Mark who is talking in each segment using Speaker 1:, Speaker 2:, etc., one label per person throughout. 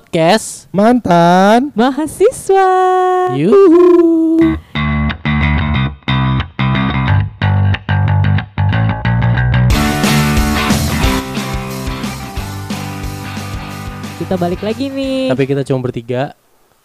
Speaker 1: podcast
Speaker 2: mantan
Speaker 3: mahasiswa.
Speaker 1: Yuhu.
Speaker 3: Kita balik lagi nih.
Speaker 1: Tapi kita cuma bertiga.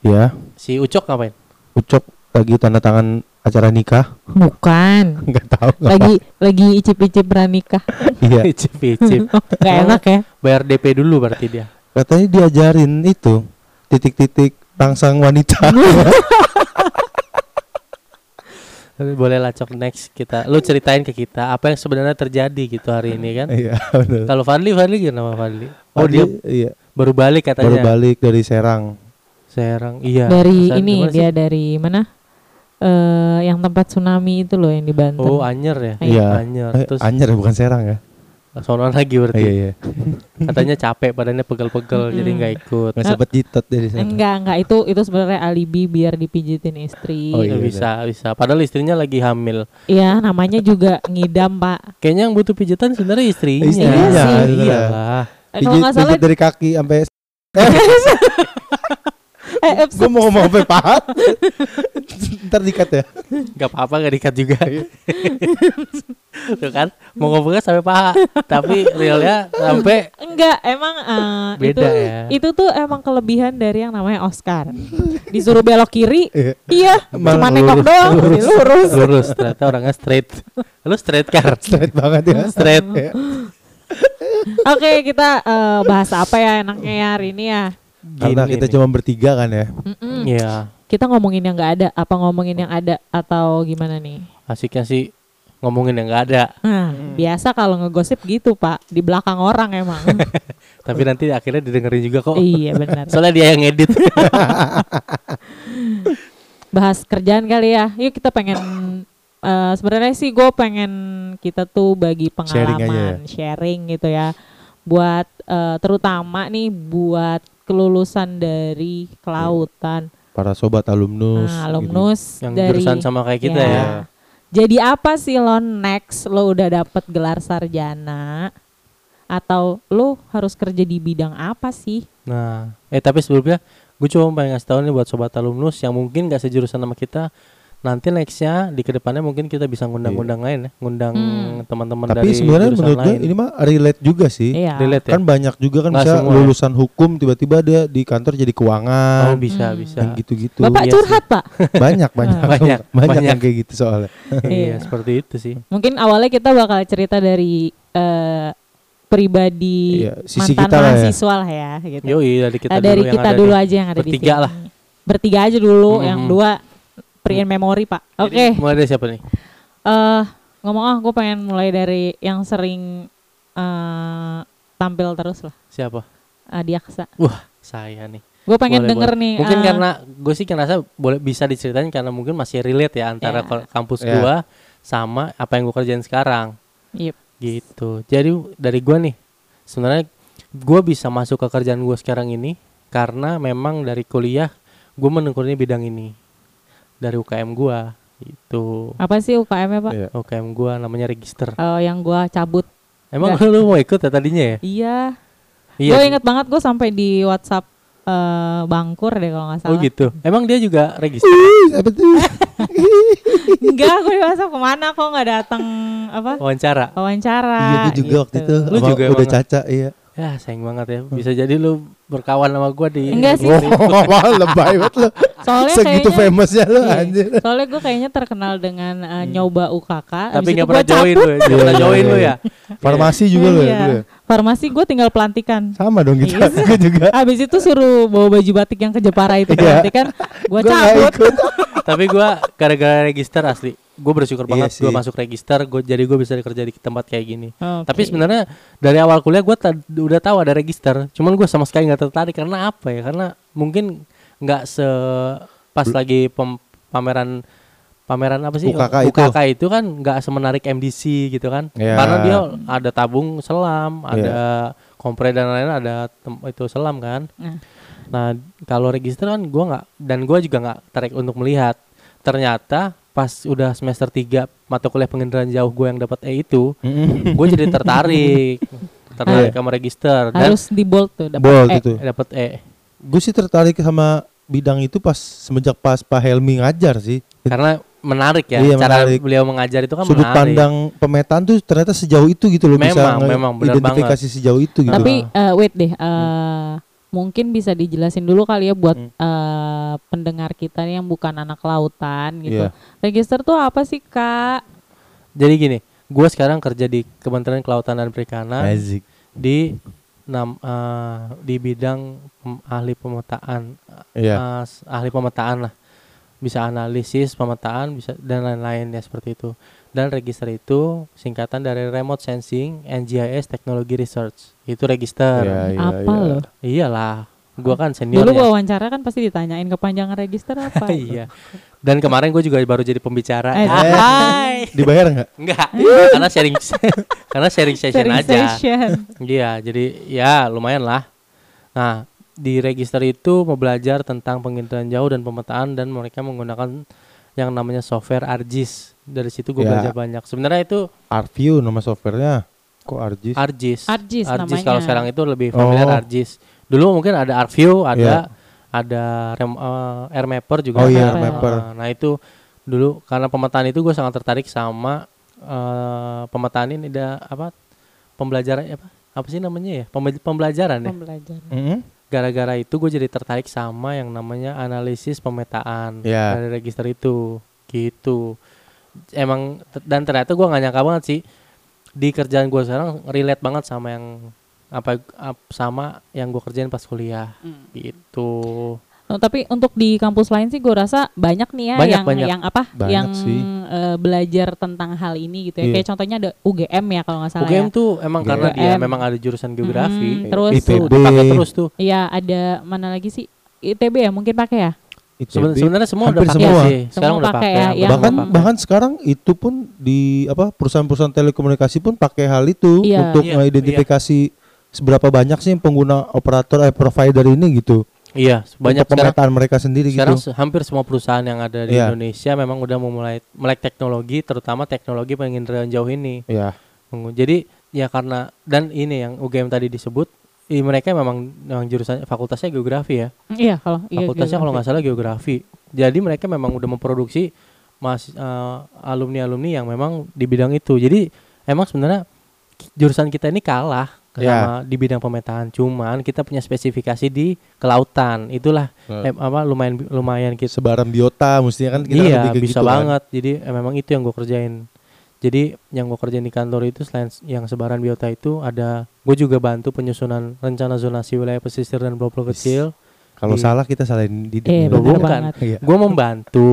Speaker 2: ya
Speaker 1: Si Ucok ngapain?
Speaker 2: ucok lagi tanda tangan acara nikah
Speaker 3: Bukan.
Speaker 2: nggak tahu nggak
Speaker 3: Lagi lagi icip-icip pranikah.
Speaker 2: apa. iya
Speaker 1: Icip icip.
Speaker 3: Gak enak ya?
Speaker 1: Bayar DP dulu berarti dia.
Speaker 2: katanya diajarin itu titik-titik rangsang wanita
Speaker 3: Iya.
Speaker 1: Boleh lah Cok next kita. Lu ceritain ke kita apa yang sebenarnya terjadi gitu hari ini kan?
Speaker 2: iya benar
Speaker 1: Kalau Fadli Fadli gimana sama Fadli? Oh dia
Speaker 2: iya
Speaker 1: baru balik
Speaker 2: baru
Speaker 1: katanya.
Speaker 2: balik dari Serang
Speaker 1: Serang. Iya.
Speaker 3: dari
Speaker 1: Serang
Speaker 3: ini
Speaker 1: gimana sih?
Speaker 3: dia dari mana? Eh yang tempat tsunami itu loh yang di Banten.
Speaker 1: Oh Anyer ya.
Speaker 2: iya
Speaker 1: Anyer.
Speaker 2: Eh,
Speaker 1: Terus
Speaker 2: Anyer ya, bukan Serang ya
Speaker 1: sonoan lagi berarti.
Speaker 2: iya iya
Speaker 1: Katanya capek badannya pegel-pegel jadi nggak ikut.
Speaker 2: nggak sempet jitet dari Serang
Speaker 3: enggak, enggak itu itu sebenarnya alibi biar dipijitin istri.
Speaker 2: Oh,
Speaker 1: Ya,
Speaker 2: iya,
Speaker 1: bisa bisa. Padahal istrinya lagi hamil.
Speaker 3: Iya, namanya juga ngidam, Pak.
Speaker 1: Kayaknya yang butuh pijetan sebenarnya istrinya.
Speaker 2: Istrinya,
Speaker 1: Iya
Speaker 2: iya.
Speaker 1: Iyalah.
Speaker 3: Eh, kalau nggak salah
Speaker 2: pijit dari kaki sampai
Speaker 3: eh, ups.
Speaker 2: gue mau ngomong sampai paha ntar dikat ya
Speaker 1: Gak apa-apa gak dikat juga.
Speaker 2: Iya.
Speaker 1: Tuh kan mau ngomongnya sampai paha, tapi realnya sampai
Speaker 3: Enggak, emang eh,
Speaker 1: Beda
Speaker 3: itu
Speaker 1: ya.
Speaker 3: itu tuh emang kelebihan dari yang namanya Oscar. Disuruh belok kiri,
Speaker 2: Iya.
Speaker 3: iya,
Speaker 2: Emang
Speaker 3: cuma nengok
Speaker 1: lurus,
Speaker 3: doang,
Speaker 1: lurus.
Speaker 3: lurus.
Speaker 1: lurus. Ternyata orangnya straight. Lu straight kan?
Speaker 2: straight banget ya
Speaker 1: Straight.
Speaker 2: Iya.
Speaker 3: Oke, kita eh, bahas apa ya enaknya ya hari ini ya?
Speaker 2: karena kita
Speaker 1: nih.
Speaker 2: cuma bertiga kan ya
Speaker 3: Mm-mm.
Speaker 1: Iya,
Speaker 3: Kita ngomongin yang nggak ada, apa ngomongin yang ada atau gimana nih?
Speaker 1: asiknya sih ngomongin yang gak ada,
Speaker 3: Nah,
Speaker 1: Hmm.
Speaker 3: biasa kalau ngegosip gitu pak, di belakang orang emang.
Speaker 1: tapi nanti akhirnya didengerin juga kok.
Speaker 3: iya benar.
Speaker 1: Soalnya dia yang edit.
Speaker 3: Bahas kerjaan kali ya. Yuk kita pengen. eh, Sebenarnya sih gue pengen kita tuh bagi
Speaker 2: Sharing aja ya.
Speaker 3: pengalaman, sharing, gitu ya. Buat eh, terutama nih buat kelulusan dari kelautan,
Speaker 2: para sobat alumnus
Speaker 3: nah,
Speaker 2: gitu.
Speaker 3: alumnus
Speaker 1: yang
Speaker 3: dari
Speaker 1: jurusan sama kayak kita
Speaker 3: Ya.
Speaker 1: ya.
Speaker 3: Jadi apa sih lo next? Lo udah dapet gelar sarjana atau lo harus kerja di bidang apa sih?
Speaker 1: Nah, eh tapi sebelumnya gue cuma pengen ngasih tahu nih buat sobat alumnus yang mungkin gak sejurusan sama kita nanti nextnya di kedepannya mungkin kita bisa ngundang-ngundang lain ya, ngundang
Speaker 3: Hmm.
Speaker 1: teman-teman
Speaker 2: Iya. Tapi
Speaker 1: dari
Speaker 2: sebenarnya
Speaker 1: jurusan
Speaker 2: menurut gue
Speaker 1: lain.
Speaker 2: ini mah relate juga sih.
Speaker 3: Iya.
Speaker 1: relate ya.
Speaker 2: Kan banyak juga kan
Speaker 1: Nggak
Speaker 2: bisa
Speaker 1: semua ya.
Speaker 2: lulusan hukum tiba-tiba dia di kantor jadi
Speaker 1: oh
Speaker 2: keuangan
Speaker 1: bisa
Speaker 3: Hmm.
Speaker 1: bisa.
Speaker 2: yang gitu-gitu.
Speaker 3: Bapak
Speaker 1: iya
Speaker 3: curhat pak.
Speaker 2: Banyak banyak
Speaker 3: Ah.
Speaker 1: Banyak,
Speaker 2: banyak
Speaker 1: banyak.
Speaker 2: yang kayak gitu soalnya.
Speaker 1: iya,
Speaker 3: Iya.
Speaker 1: seperti itu sih.
Speaker 3: Mungkin awalnya kita bakal cerita dari eh, pribadi
Speaker 2: Iya, sisi
Speaker 3: mantan
Speaker 2: kita lah ya.
Speaker 3: mahasiswa lah ya. gitu.
Speaker 1: Yoi dari kita
Speaker 3: Nah, dari
Speaker 1: dulu yang
Speaker 3: kita
Speaker 1: ada
Speaker 3: dulu
Speaker 1: di-
Speaker 3: aja yang ada di
Speaker 1: Bertiga
Speaker 3: sini.
Speaker 1: lah.
Speaker 3: Bertiga aja dulu,
Speaker 1: Mm-mm.
Speaker 3: yang dua pre and memory pak. Oke.
Speaker 1: Jadi, Mulai dari siapa nih?
Speaker 3: eh ngomong ah, gue pengen mulai dari yang sering eh, tampil terus lah, eh,
Speaker 1: Siapa?
Speaker 3: Adiaksa.
Speaker 1: Wah, saya nih.
Speaker 3: Gue pengen
Speaker 1: Boleh,
Speaker 3: denger
Speaker 1: boleh.
Speaker 3: nih.
Speaker 1: Mungkin
Speaker 3: eh,
Speaker 1: karena gue sih ngerasa boleh bisa diceritain karena mungkin masih relate ya antara
Speaker 3: Iya.
Speaker 1: kol- kampus
Speaker 2: Iya.
Speaker 1: gua sama apa yang gue kerjain sekarang
Speaker 3: yep.
Speaker 1: gitu. Jadi dari gua nih sebenarnya gua bisa masuk ke kerjaan gua sekarang ini karena memang dari kuliah gua menekuni bidang ini dari UKM gua gitu.
Speaker 3: Apa sih UKM ya pak?
Speaker 2: Iya.
Speaker 1: UKM gua namanya register.
Speaker 3: Eh, yang gue cabut.
Speaker 1: Emang lu mau ikut ya tadinya ya?
Speaker 3: Iya. Gue inget banget gue sampai di WhatsApp eh, Bangkur deh kalau nggak salah.
Speaker 1: Oh gitu. Emang dia juga register.
Speaker 3: Iya.
Speaker 2: Ih, apa tuh?
Speaker 3: Enggak, gue di WhatsApp kemana kok nggak datang apa
Speaker 1: wawancara.
Speaker 3: wawancara.
Speaker 2: Iya gue juga
Speaker 3: gitu.
Speaker 2: waktu itu.
Speaker 1: Lu
Speaker 2: Sama
Speaker 1: juga
Speaker 2: udah
Speaker 1: emang-
Speaker 2: caca iya.
Speaker 1: Ya sayang banget ya. Bisa jadi lu berkawan sama gua di
Speaker 3: Enggak sih.
Speaker 2: Wah, Oh, lebay banget lu.
Speaker 3: Iya. Soalnya
Speaker 2: Segitu
Speaker 3: kayaknya-
Speaker 2: famousnya lu
Speaker 3: Iya.
Speaker 2: anjir. Hmm.
Speaker 3: Soalnya gue kayaknya terkenal dengan eh, nyoba
Speaker 1: tapi
Speaker 3: UKK. abis itu
Speaker 1: nggak
Speaker 3: gua
Speaker 1: pernah join
Speaker 3: cabut.
Speaker 1: lu, nggak pernah
Speaker 2: Iya,
Speaker 1: join
Speaker 2: iya,
Speaker 1: lu
Speaker 2: iya.
Speaker 1: ya.
Speaker 2: Farmasi juga lu ya.
Speaker 3: Iya.
Speaker 2: dulu ya?
Speaker 3: Farmasi gue tinggal pelantikan.
Speaker 2: Sama dong kita. Gue juga.
Speaker 3: Abis itu suruh bawa baju batik yang ke Jepara itu
Speaker 2: Iya.
Speaker 3: pelantikan.
Speaker 2: Gua
Speaker 3: Gue
Speaker 2: nggak
Speaker 3: cabut.
Speaker 2: ikut.
Speaker 1: tapi gua gara-gara register asli. Gue bersyukur
Speaker 2: Iya
Speaker 1: banget
Speaker 2: sih.
Speaker 1: gua masuk register. Gue jadi gue bisa kerja di tempat kayak gini.
Speaker 3: Oke.
Speaker 1: Tapi sebenarnya dari awal kuliah gue udah tahu ada register. Cuman gue sama sekali nggak tertarik karena apa ya? Karena mungkin nggak se pas lagi pem- pameran pameran apa sih?
Speaker 2: UKK itu.
Speaker 1: itu kan nggak semenarik MDC gitu kan?
Speaker 2: Ya.
Speaker 1: Karena dia ada tabung selam,
Speaker 2: Iya.
Speaker 1: ada kompre dan lain-lain, ada tem- itu selam kan.
Speaker 3: Nah.
Speaker 1: Nah, kalau register kan gua nggak dan gua juga nggak tarik untuk melihat. Ternyata pas udah semester 3 mata kuliah penginderaan jauh gua yang dapat E itu, gue jadi
Speaker 2: Iya.
Speaker 1: tertarik tertarik sama register dan
Speaker 3: Harus di bold tuh. dapet
Speaker 2: Bold
Speaker 3: E.
Speaker 2: itu.
Speaker 1: dapat E
Speaker 2: Gue sih tertarik sama bidang itu pas semenjak pas Pak Helmi ngajar sih.
Speaker 1: Karena menarik ya
Speaker 2: Iya,
Speaker 1: cara
Speaker 2: menarik.
Speaker 1: beliau mengajar itu kan
Speaker 2: Sudut
Speaker 1: menarik.
Speaker 2: pandang pemetaan tuh ternyata sejauh itu gitu loh bisa
Speaker 1: Memang,
Speaker 2: nge-
Speaker 1: memang, benar
Speaker 2: identifikasi sejauh itu gitu. Hmm.
Speaker 3: Tapi eh, wait deh, eh, mungkin bisa dijelasin dulu kali ya buat
Speaker 2: Hmm.
Speaker 3: eh, pendengar kita nih yang bukan anak lautan
Speaker 2: Iya.
Speaker 3: gitu. Register tuh apa sih kak?
Speaker 1: Jadi gini, gue sekarang kerja di Kementerian Kelautan dan Perikanan
Speaker 2: Magic.
Speaker 1: di nam, eh, di bidang pem- ahli pemetaan,
Speaker 2: Iya.
Speaker 1: Eh, s- ahli pemetaan lah, bisa analisis pemetaan, bisa dan lain-lain ya seperti itu. Dan register itu singkatan dari Remote Sensing and GIS Technology Research. Itu
Speaker 2: Iya,
Speaker 1: register.
Speaker 2: iya,
Speaker 3: apa
Speaker 2: iya.
Speaker 3: loh?
Speaker 1: Iyalah, gue kan senior
Speaker 3: Dulu
Speaker 1: ya.
Speaker 3: gua wawancara kan pasti ditanyain kepanjangan register apa. gitu.
Speaker 1: iya. Dan kemarin gue juga baru jadi pembicara.
Speaker 3: Eh,
Speaker 1: Ah,
Speaker 3: hai.
Speaker 2: Dibayar nggak?
Speaker 1: Enggak, karena sharing karena sharing session
Speaker 3: Sharing
Speaker 1: aja.
Speaker 3: session.
Speaker 1: Iya, jadi ya lumayan lah. Nah, di register itu mau belajar tentang penginderaan jauh dan pemetaan dan mereka menggunakan yang namanya software ArcGIS. Dari situ gue
Speaker 2: Ya.
Speaker 1: belajar banyak. Sebenarnya itu
Speaker 2: Arview nama softwarenya. Kok Arjis?
Speaker 1: ArcGIS.
Speaker 3: ArcGIS namanya.
Speaker 1: kalau sekarang itu lebih familiar
Speaker 2: Oh. Ya.
Speaker 1: ArcGIS. Dulu mungkin ada ArcView, ada ada rem, eh, Air Mapper juga.
Speaker 2: Oh
Speaker 1: ada.
Speaker 2: iya,
Speaker 3: Mapper.
Speaker 2: Mapper.
Speaker 1: Eh, nah itu dulu karena pemetaan itu gue sangat tertarik sama eh, pemetaan ini ada apa pembelajaran apa apa sih namanya ya Pembe- pembelajaran ya.
Speaker 3: Pembelajaran.
Speaker 2: Mm-mm.
Speaker 1: Gara-gara itu gue jadi tertarik sama yang namanya analisis pemetaan
Speaker 2: Iya.
Speaker 1: dari register itu gitu. Emang t- dan ternyata gue nggak nyangka banget sih di kerjaan gue sekarang relate banget sama yang apa ap- sama yang gue kerjain pas kuliah
Speaker 3: Hmm.
Speaker 1: gitu.
Speaker 3: No, Oh, tapi untuk di kampus lain sih gue rasa banyak nih ya
Speaker 1: Banyak,
Speaker 3: yang
Speaker 1: banyak.
Speaker 3: yang apa
Speaker 2: Banyak
Speaker 3: yang
Speaker 2: sih.
Speaker 3: eh, belajar tentang hal ini gitu ya.
Speaker 2: Iya.
Speaker 3: Kayak contohnya ada UGM ya kalau nggak salah. ya.
Speaker 1: UGM tuh emang karena dia
Speaker 3: UGM.
Speaker 1: memang ada jurusan geografi.
Speaker 3: Mm, terus
Speaker 1: Itu
Speaker 2: ITB.
Speaker 1: dipakai terus tuh.
Speaker 3: Iya ada mana lagi sih ITB ya mungkin pakai ya.
Speaker 2: ITB.
Speaker 1: Seben- Sebenarnya semua udah
Speaker 2: Hampir
Speaker 1: pakai
Speaker 2: semua.
Speaker 1: sih. Sekarang
Speaker 3: Semua
Speaker 1: udah
Speaker 3: pakai
Speaker 1: pakai.
Speaker 3: ya,
Speaker 1: hampir
Speaker 3: yang-
Speaker 2: bahkan
Speaker 1: semua pakai.
Speaker 2: bahkan sekarang itu pun di apa perusahaan-perusahaan telekomunikasi pun pakai hal itu
Speaker 3: Iya.
Speaker 2: untuk
Speaker 1: Iya,
Speaker 2: mengidentifikasi seberapa banyak sih pengguna operator eh provider ini gitu
Speaker 1: iya, banyak
Speaker 2: untuk
Speaker 1: sekarang
Speaker 2: pemetaan mereka sendiri
Speaker 1: Sekarang
Speaker 2: gitu.
Speaker 1: se- hampir semua perusahaan yang ada di
Speaker 2: Iya.
Speaker 1: Indonesia memang udah memulai melek teknologi, terutama teknologi penginderaan jauh ini.
Speaker 2: Ya,
Speaker 1: Mengu- Jadi ya karena dan ini yang UGM tadi disebut, i- mereka memang memang jurusan fakultasnya geografi ya.
Speaker 3: Iya kalau iya,
Speaker 1: Fakultasnya kalau nggak
Speaker 3: geografi.
Speaker 1: salah geografi. Jadi mereka memang udah memproduksi mas alumni alumni yang memang di bidang itu. Jadi emang sebenarnya ki- jurusan kita ini kalah
Speaker 2: Iya.
Speaker 1: sama di bidang pemetaan. Cuman kita punya spesifikasi di kelautan. Itulah
Speaker 2: Eh,
Speaker 1: em, apa lumayan lumayan kita
Speaker 2: sebaran biota mestinya kan kita
Speaker 1: iya
Speaker 2: lebih ke
Speaker 1: bisa
Speaker 2: gitu kan.
Speaker 1: banget jadi eh, memang itu yang gue kerjain jadi yang gue kerjain di kantor itu selain s- yang sebaran biota itu ada gue juga bantu penyusunan rencana zonasi wilayah pesisir dan pulau-pulau
Speaker 2: Is.
Speaker 1: kecil
Speaker 2: Kalau
Speaker 1: Iya.
Speaker 2: salah kita salahin di
Speaker 3: Eh,
Speaker 1: Loh,
Speaker 3: bener
Speaker 1: bukan.
Speaker 3: banget.
Speaker 2: Iya.
Speaker 1: gue membantu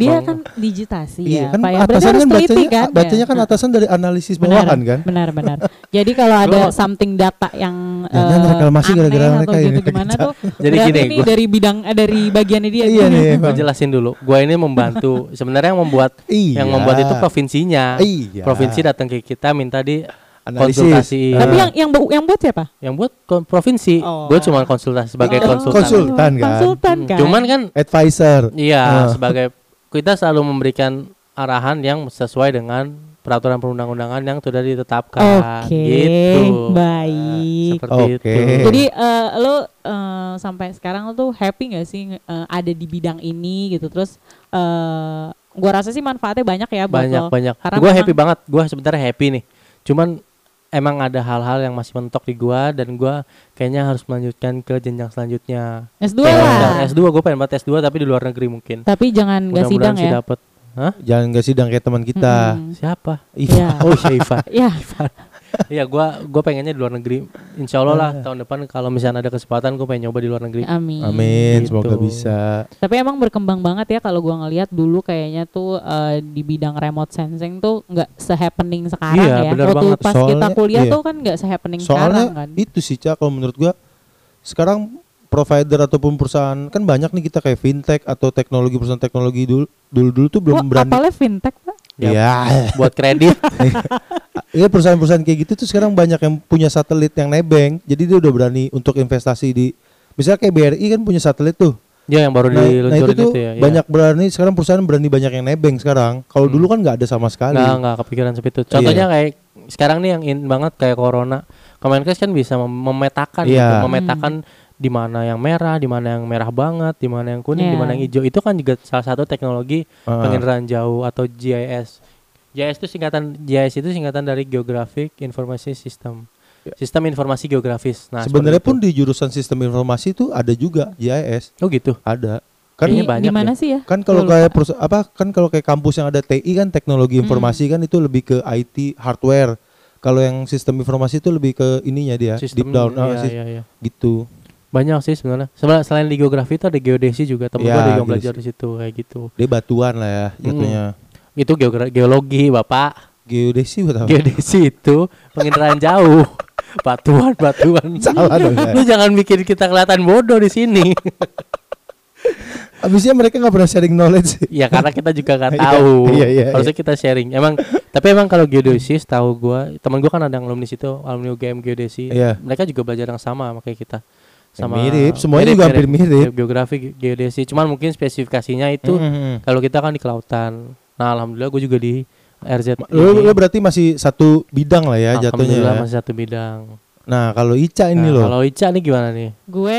Speaker 3: Dia
Speaker 1: Bang-
Speaker 3: kan digitasi
Speaker 2: Iya,
Speaker 3: ya,
Speaker 2: kan
Speaker 3: Pak. ya. Berarti
Speaker 2: atasan
Speaker 3: harus
Speaker 2: kan
Speaker 3: teliti
Speaker 2: bacanya,
Speaker 3: kan, ya?
Speaker 2: bacanya kan atasan dari analisis
Speaker 3: Benar,
Speaker 2: bawahan kan.
Speaker 3: Benar benar. Jadi kalau ada something data yang
Speaker 2: Jangan-jangan Ya,
Speaker 3: eh,
Speaker 2: reklamasi
Speaker 3: aneh
Speaker 2: gara-gara
Speaker 3: atau
Speaker 2: mereka ini.
Speaker 3: gitu gimana tuh?
Speaker 1: Jadi
Speaker 3: berarti
Speaker 1: gini,
Speaker 3: ini
Speaker 1: gua-
Speaker 3: dari bidang eh, dari bagiannya dia.
Speaker 2: Iya nih,
Speaker 1: gue
Speaker 2: Bang.
Speaker 1: jelasin dulu gue ini membantu sebenarnya yang membuat
Speaker 2: Iya.
Speaker 1: yang membuat itu provinsinya
Speaker 2: Iya.
Speaker 1: provinsi datang ke kita minta di
Speaker 2: Analisis.
Speaker 1: konsultasi.
Speaker 3: Tapi
Speaker 2: Ah.
Speaker 3: yang yang bu- yang buat siapa?
Speaker 1: yang buat kon- provinsi
Speaker 3: Oh.
Speaker 1: gue cuma konsultasi sebagai
Speaker 3: Oh.
Speaker 1: konsultan
Speaker 2: Konsul- Konsultan kan?
Speaker 3: Konsultan kan.
Speaker 1: cuman kan
Speaker 2: advisor.
Speaker 1: Iya,
Speaker 2: Ah.
Speaker 1: sebagai kita selalu memberikan arahan yang sesuai dengan peraturan perundang-undangan yang sudah ditetapkan.
Speaker 3: Oke,
Speaker 1: gitu.
Speaker 3: baik.
Speaker 1: Seperti
Speaker 2: Oke.
Speaker 1: itu.
Speaker 3: Jadi eh, lo eh, sampai sekarang lo tuh happy gak sih eh, ada di bidang ini gitu terus eh gua rasa sih manfaatnya banyak ya buat
Speaker 1: banyak
Speaker 3: lo.
Speaker 1: banyak.
Speaker 3: Karena
Speaker 1: Gue
Speaker 3: memang-
Speaker 1: happy banget. Gue sebenarnya happy nih. Cuman emang ada hal-hal yang masih mentok di gua dan gua kayaknya harus melanjutkan ke jenjang selanjutnya.
Speaker 3: S2
Speaker 1: Kayak
Speaker 3: lah.
Speaker 1: jenjang S2 gue pengen banget S2 tapi di luar negeri mungkin.
Speaker 3: Tapi jangan gak
Speaker 1: Mudah-mudahan
Speaker 3: sidang
Speaker 1: sih
Speaker 3: ya.
Speaker 1: dapet. Hah?
Speaker 2: Jangan gak sidang kayak teman kita.
Speaker 3: Mm-mm.
Speaker 1: Siapa?
Speaker 3: Iya.
Speaker 1: Oh, Syaifah.
Speaker 3: Ya,
Speaker 1: Iya, gua gua pengennya di luar negeri. Insya Allah
Speaker 2: Iya.
Speaker 1: lah tahun depan kalau misalnya ada kesempatan gue pengen nyoba di luar negeri.
Speaker 3: amin.
Speaker 2: Amin,
Speaker 1: Gitu.
Speaker 2: semoga bisa.
Speaker 3: Tapi emang berkembang banget ya kalau gua ngelihat dulu kayaknya tuh eh, di bidang remote sensing tuh nggak se-happening sekarang
Speaker 1: Iya,
Speaker 3: ya.
Speaker 1: benar
Speaker 3: Waktu
Speaker 1: banget.
Speaker 3: pas
Speaker 2: Soalnya-
Speaker 3: kita kuliah
Speaker 2: iya.
Speaker 3: tuh kan nggak se-happening sekarang
Speaker 2: Soalnya
Speaker 3: kan.
Speaker 2: itu sih Cak kalau menurut gua sekarang provider ataupun perusahaan kan banyak nih kita kayak fintech atau teknologi perusahaan teknologi dulu dulu dulu tuh belum
Speaker 3: Wah,
Speaker 2: berani.
Speaker 3: apalnya fintech Pak?
Speaker 1: Yap.
Speaker 2: Iya.
Speaker 1: buat kredit.
Speaker 2: Iya perusahaan-perusahaan kayak gitu tuh sekarang banyak yang punya satelit yang nebeng. Jadi dia udah berani untuk investasi di misalnya kayak BRI kan punya satelit tuh.
Speaker 1: ya yang baru
Speaker 2: Nah, nah itu
Speaker 1: diluncurin
Speaker 2: tuh
Speaker 1: itu, ya.
Speaker 2: banyak berani sekarang perusahaan berani banyak yang nebeng sekarang. Kalau
Speaker 1: Hmm.
Speaker 2: dulu kan nggak ada sama sekali.
Speaker 1: Enggak, enggak kepikiran seperti itu. Contohnya
Speaker 2: Iya.
Speaker 1: kayak sekarang nih yang in banget kayak corona. Kemenkes kan bisa mem- memetakan
Speaker 2: Iya.
Speaker 1: gitu, memetakan di mana yang merah, di mana yang merah banget, di mana yang kuning, di
Speaker 3: Iya.
Speaker 1: mana yang hijau. Itu kan juga salah satu teknologi
Speaker 2: Ah.
Speaker 1: penginderaan jauh atau GIS. GIS itu singkatan GIS itu singkatan dari Geographic Information System. Sistem informasi geografis. Nah,
Speaker 2: Iya. Sebenarnya pun
Speaker 1: seperti
Speaker 2: di jurusan sistem informasi itu ada juga GIS,
Speaker 1: itu. Oh gitu.
Speaker 2: ada. Kan
Speaker 1: Iya.
Speaker 3: Di,
Speaker 1: banyak
Speaker 3: di mana
Speaker 1: deh.
Speaker 3: sih ya?
Speaker 2: kan kalau
Speaker 3: Gua lupa.
Speaker 2: kayak perus- apa kan kalau kayak kampus yang ada TI kan teknologi
Speaker 1: Hmm.
Speaker 2: informasi kan itu lebih ke IT hardware. Kalau yang sistem informasi itu lebih ke ininya dia deep down ah,
Speaker 1: iya,
Speaker 2: sis-
Speaker 1: iya, iya.
Speaker 2: gitu.
Speaker 1: Banyak sih sebenarnya. Sebenarnya selain di geografi itu ada geodesi juga. Temen
Speaker 2: Iya,
Speaker 1: gua ada yang
Speaker 2: geodesi.
Speaker 1: belajar di situ kayak gitu.
Speaker 2: Dia batuan lah
Speaker 1: Hmm.
Speaker 2: ya jatuhnya.
Speaker 1: Itu geogra- geologi, Bapak.
Speaker 2: Geodesi buat apa?
Speaker 1: Geodesi itu penginderaan jauh. Batuan, batuan.
Speaker 2: Salah dong, ya.
Speaker 1: Lu jangan bikin kita kelihatan bodoh di sini.
Speaker 2: Abisnya mereka nggak pernah sharing knowledge.
Speaker 1: ya karena kita juga nggak
Speaker 2: Iya,
Speaker 1: tahu.
Speaker 2: iya, iya,
Speaker 1: Harusnya kita sharing. Emang tapi emang kalau geodesi tahu gua, teman gua kan ada yang alumni situ, alumni UGM geodesi.
Speaker 2: Iya.
Speaker 1: Mereka juga belajar yang sama sama kayak kita. Sama
Speaker 2: mirip, semuanya juga hampir
Speaker 1: Iya,
Speaker 2: mirip. Hmm,
Speaker 1: Geografi, ge- geodesi, cuman mungkin spesifikasinya itu
Speaker 2: Mm-mm.
Speaker 1: kalau kita kan di kelautan. Nah, alhamdulillah gue juga di RZ.
Speaker 2: Lu,
Speaker 1: ini.
Speaker 2: lu berarti masih satu bidang lah
Speaker 1: Iya,
Speaker 2: ya jatuhnya.
Speaker 1: Ah, alhamdulillah
Speaker 2: ya.
Speaker 1: masih satu bidang.
Speaker 2: Nah, kalau Ica ini
Speaker 1: Nah,
Speaker 2: loh.
Speaker 1: Kalau Ica nih gimana nih?
Speaker 3: Gue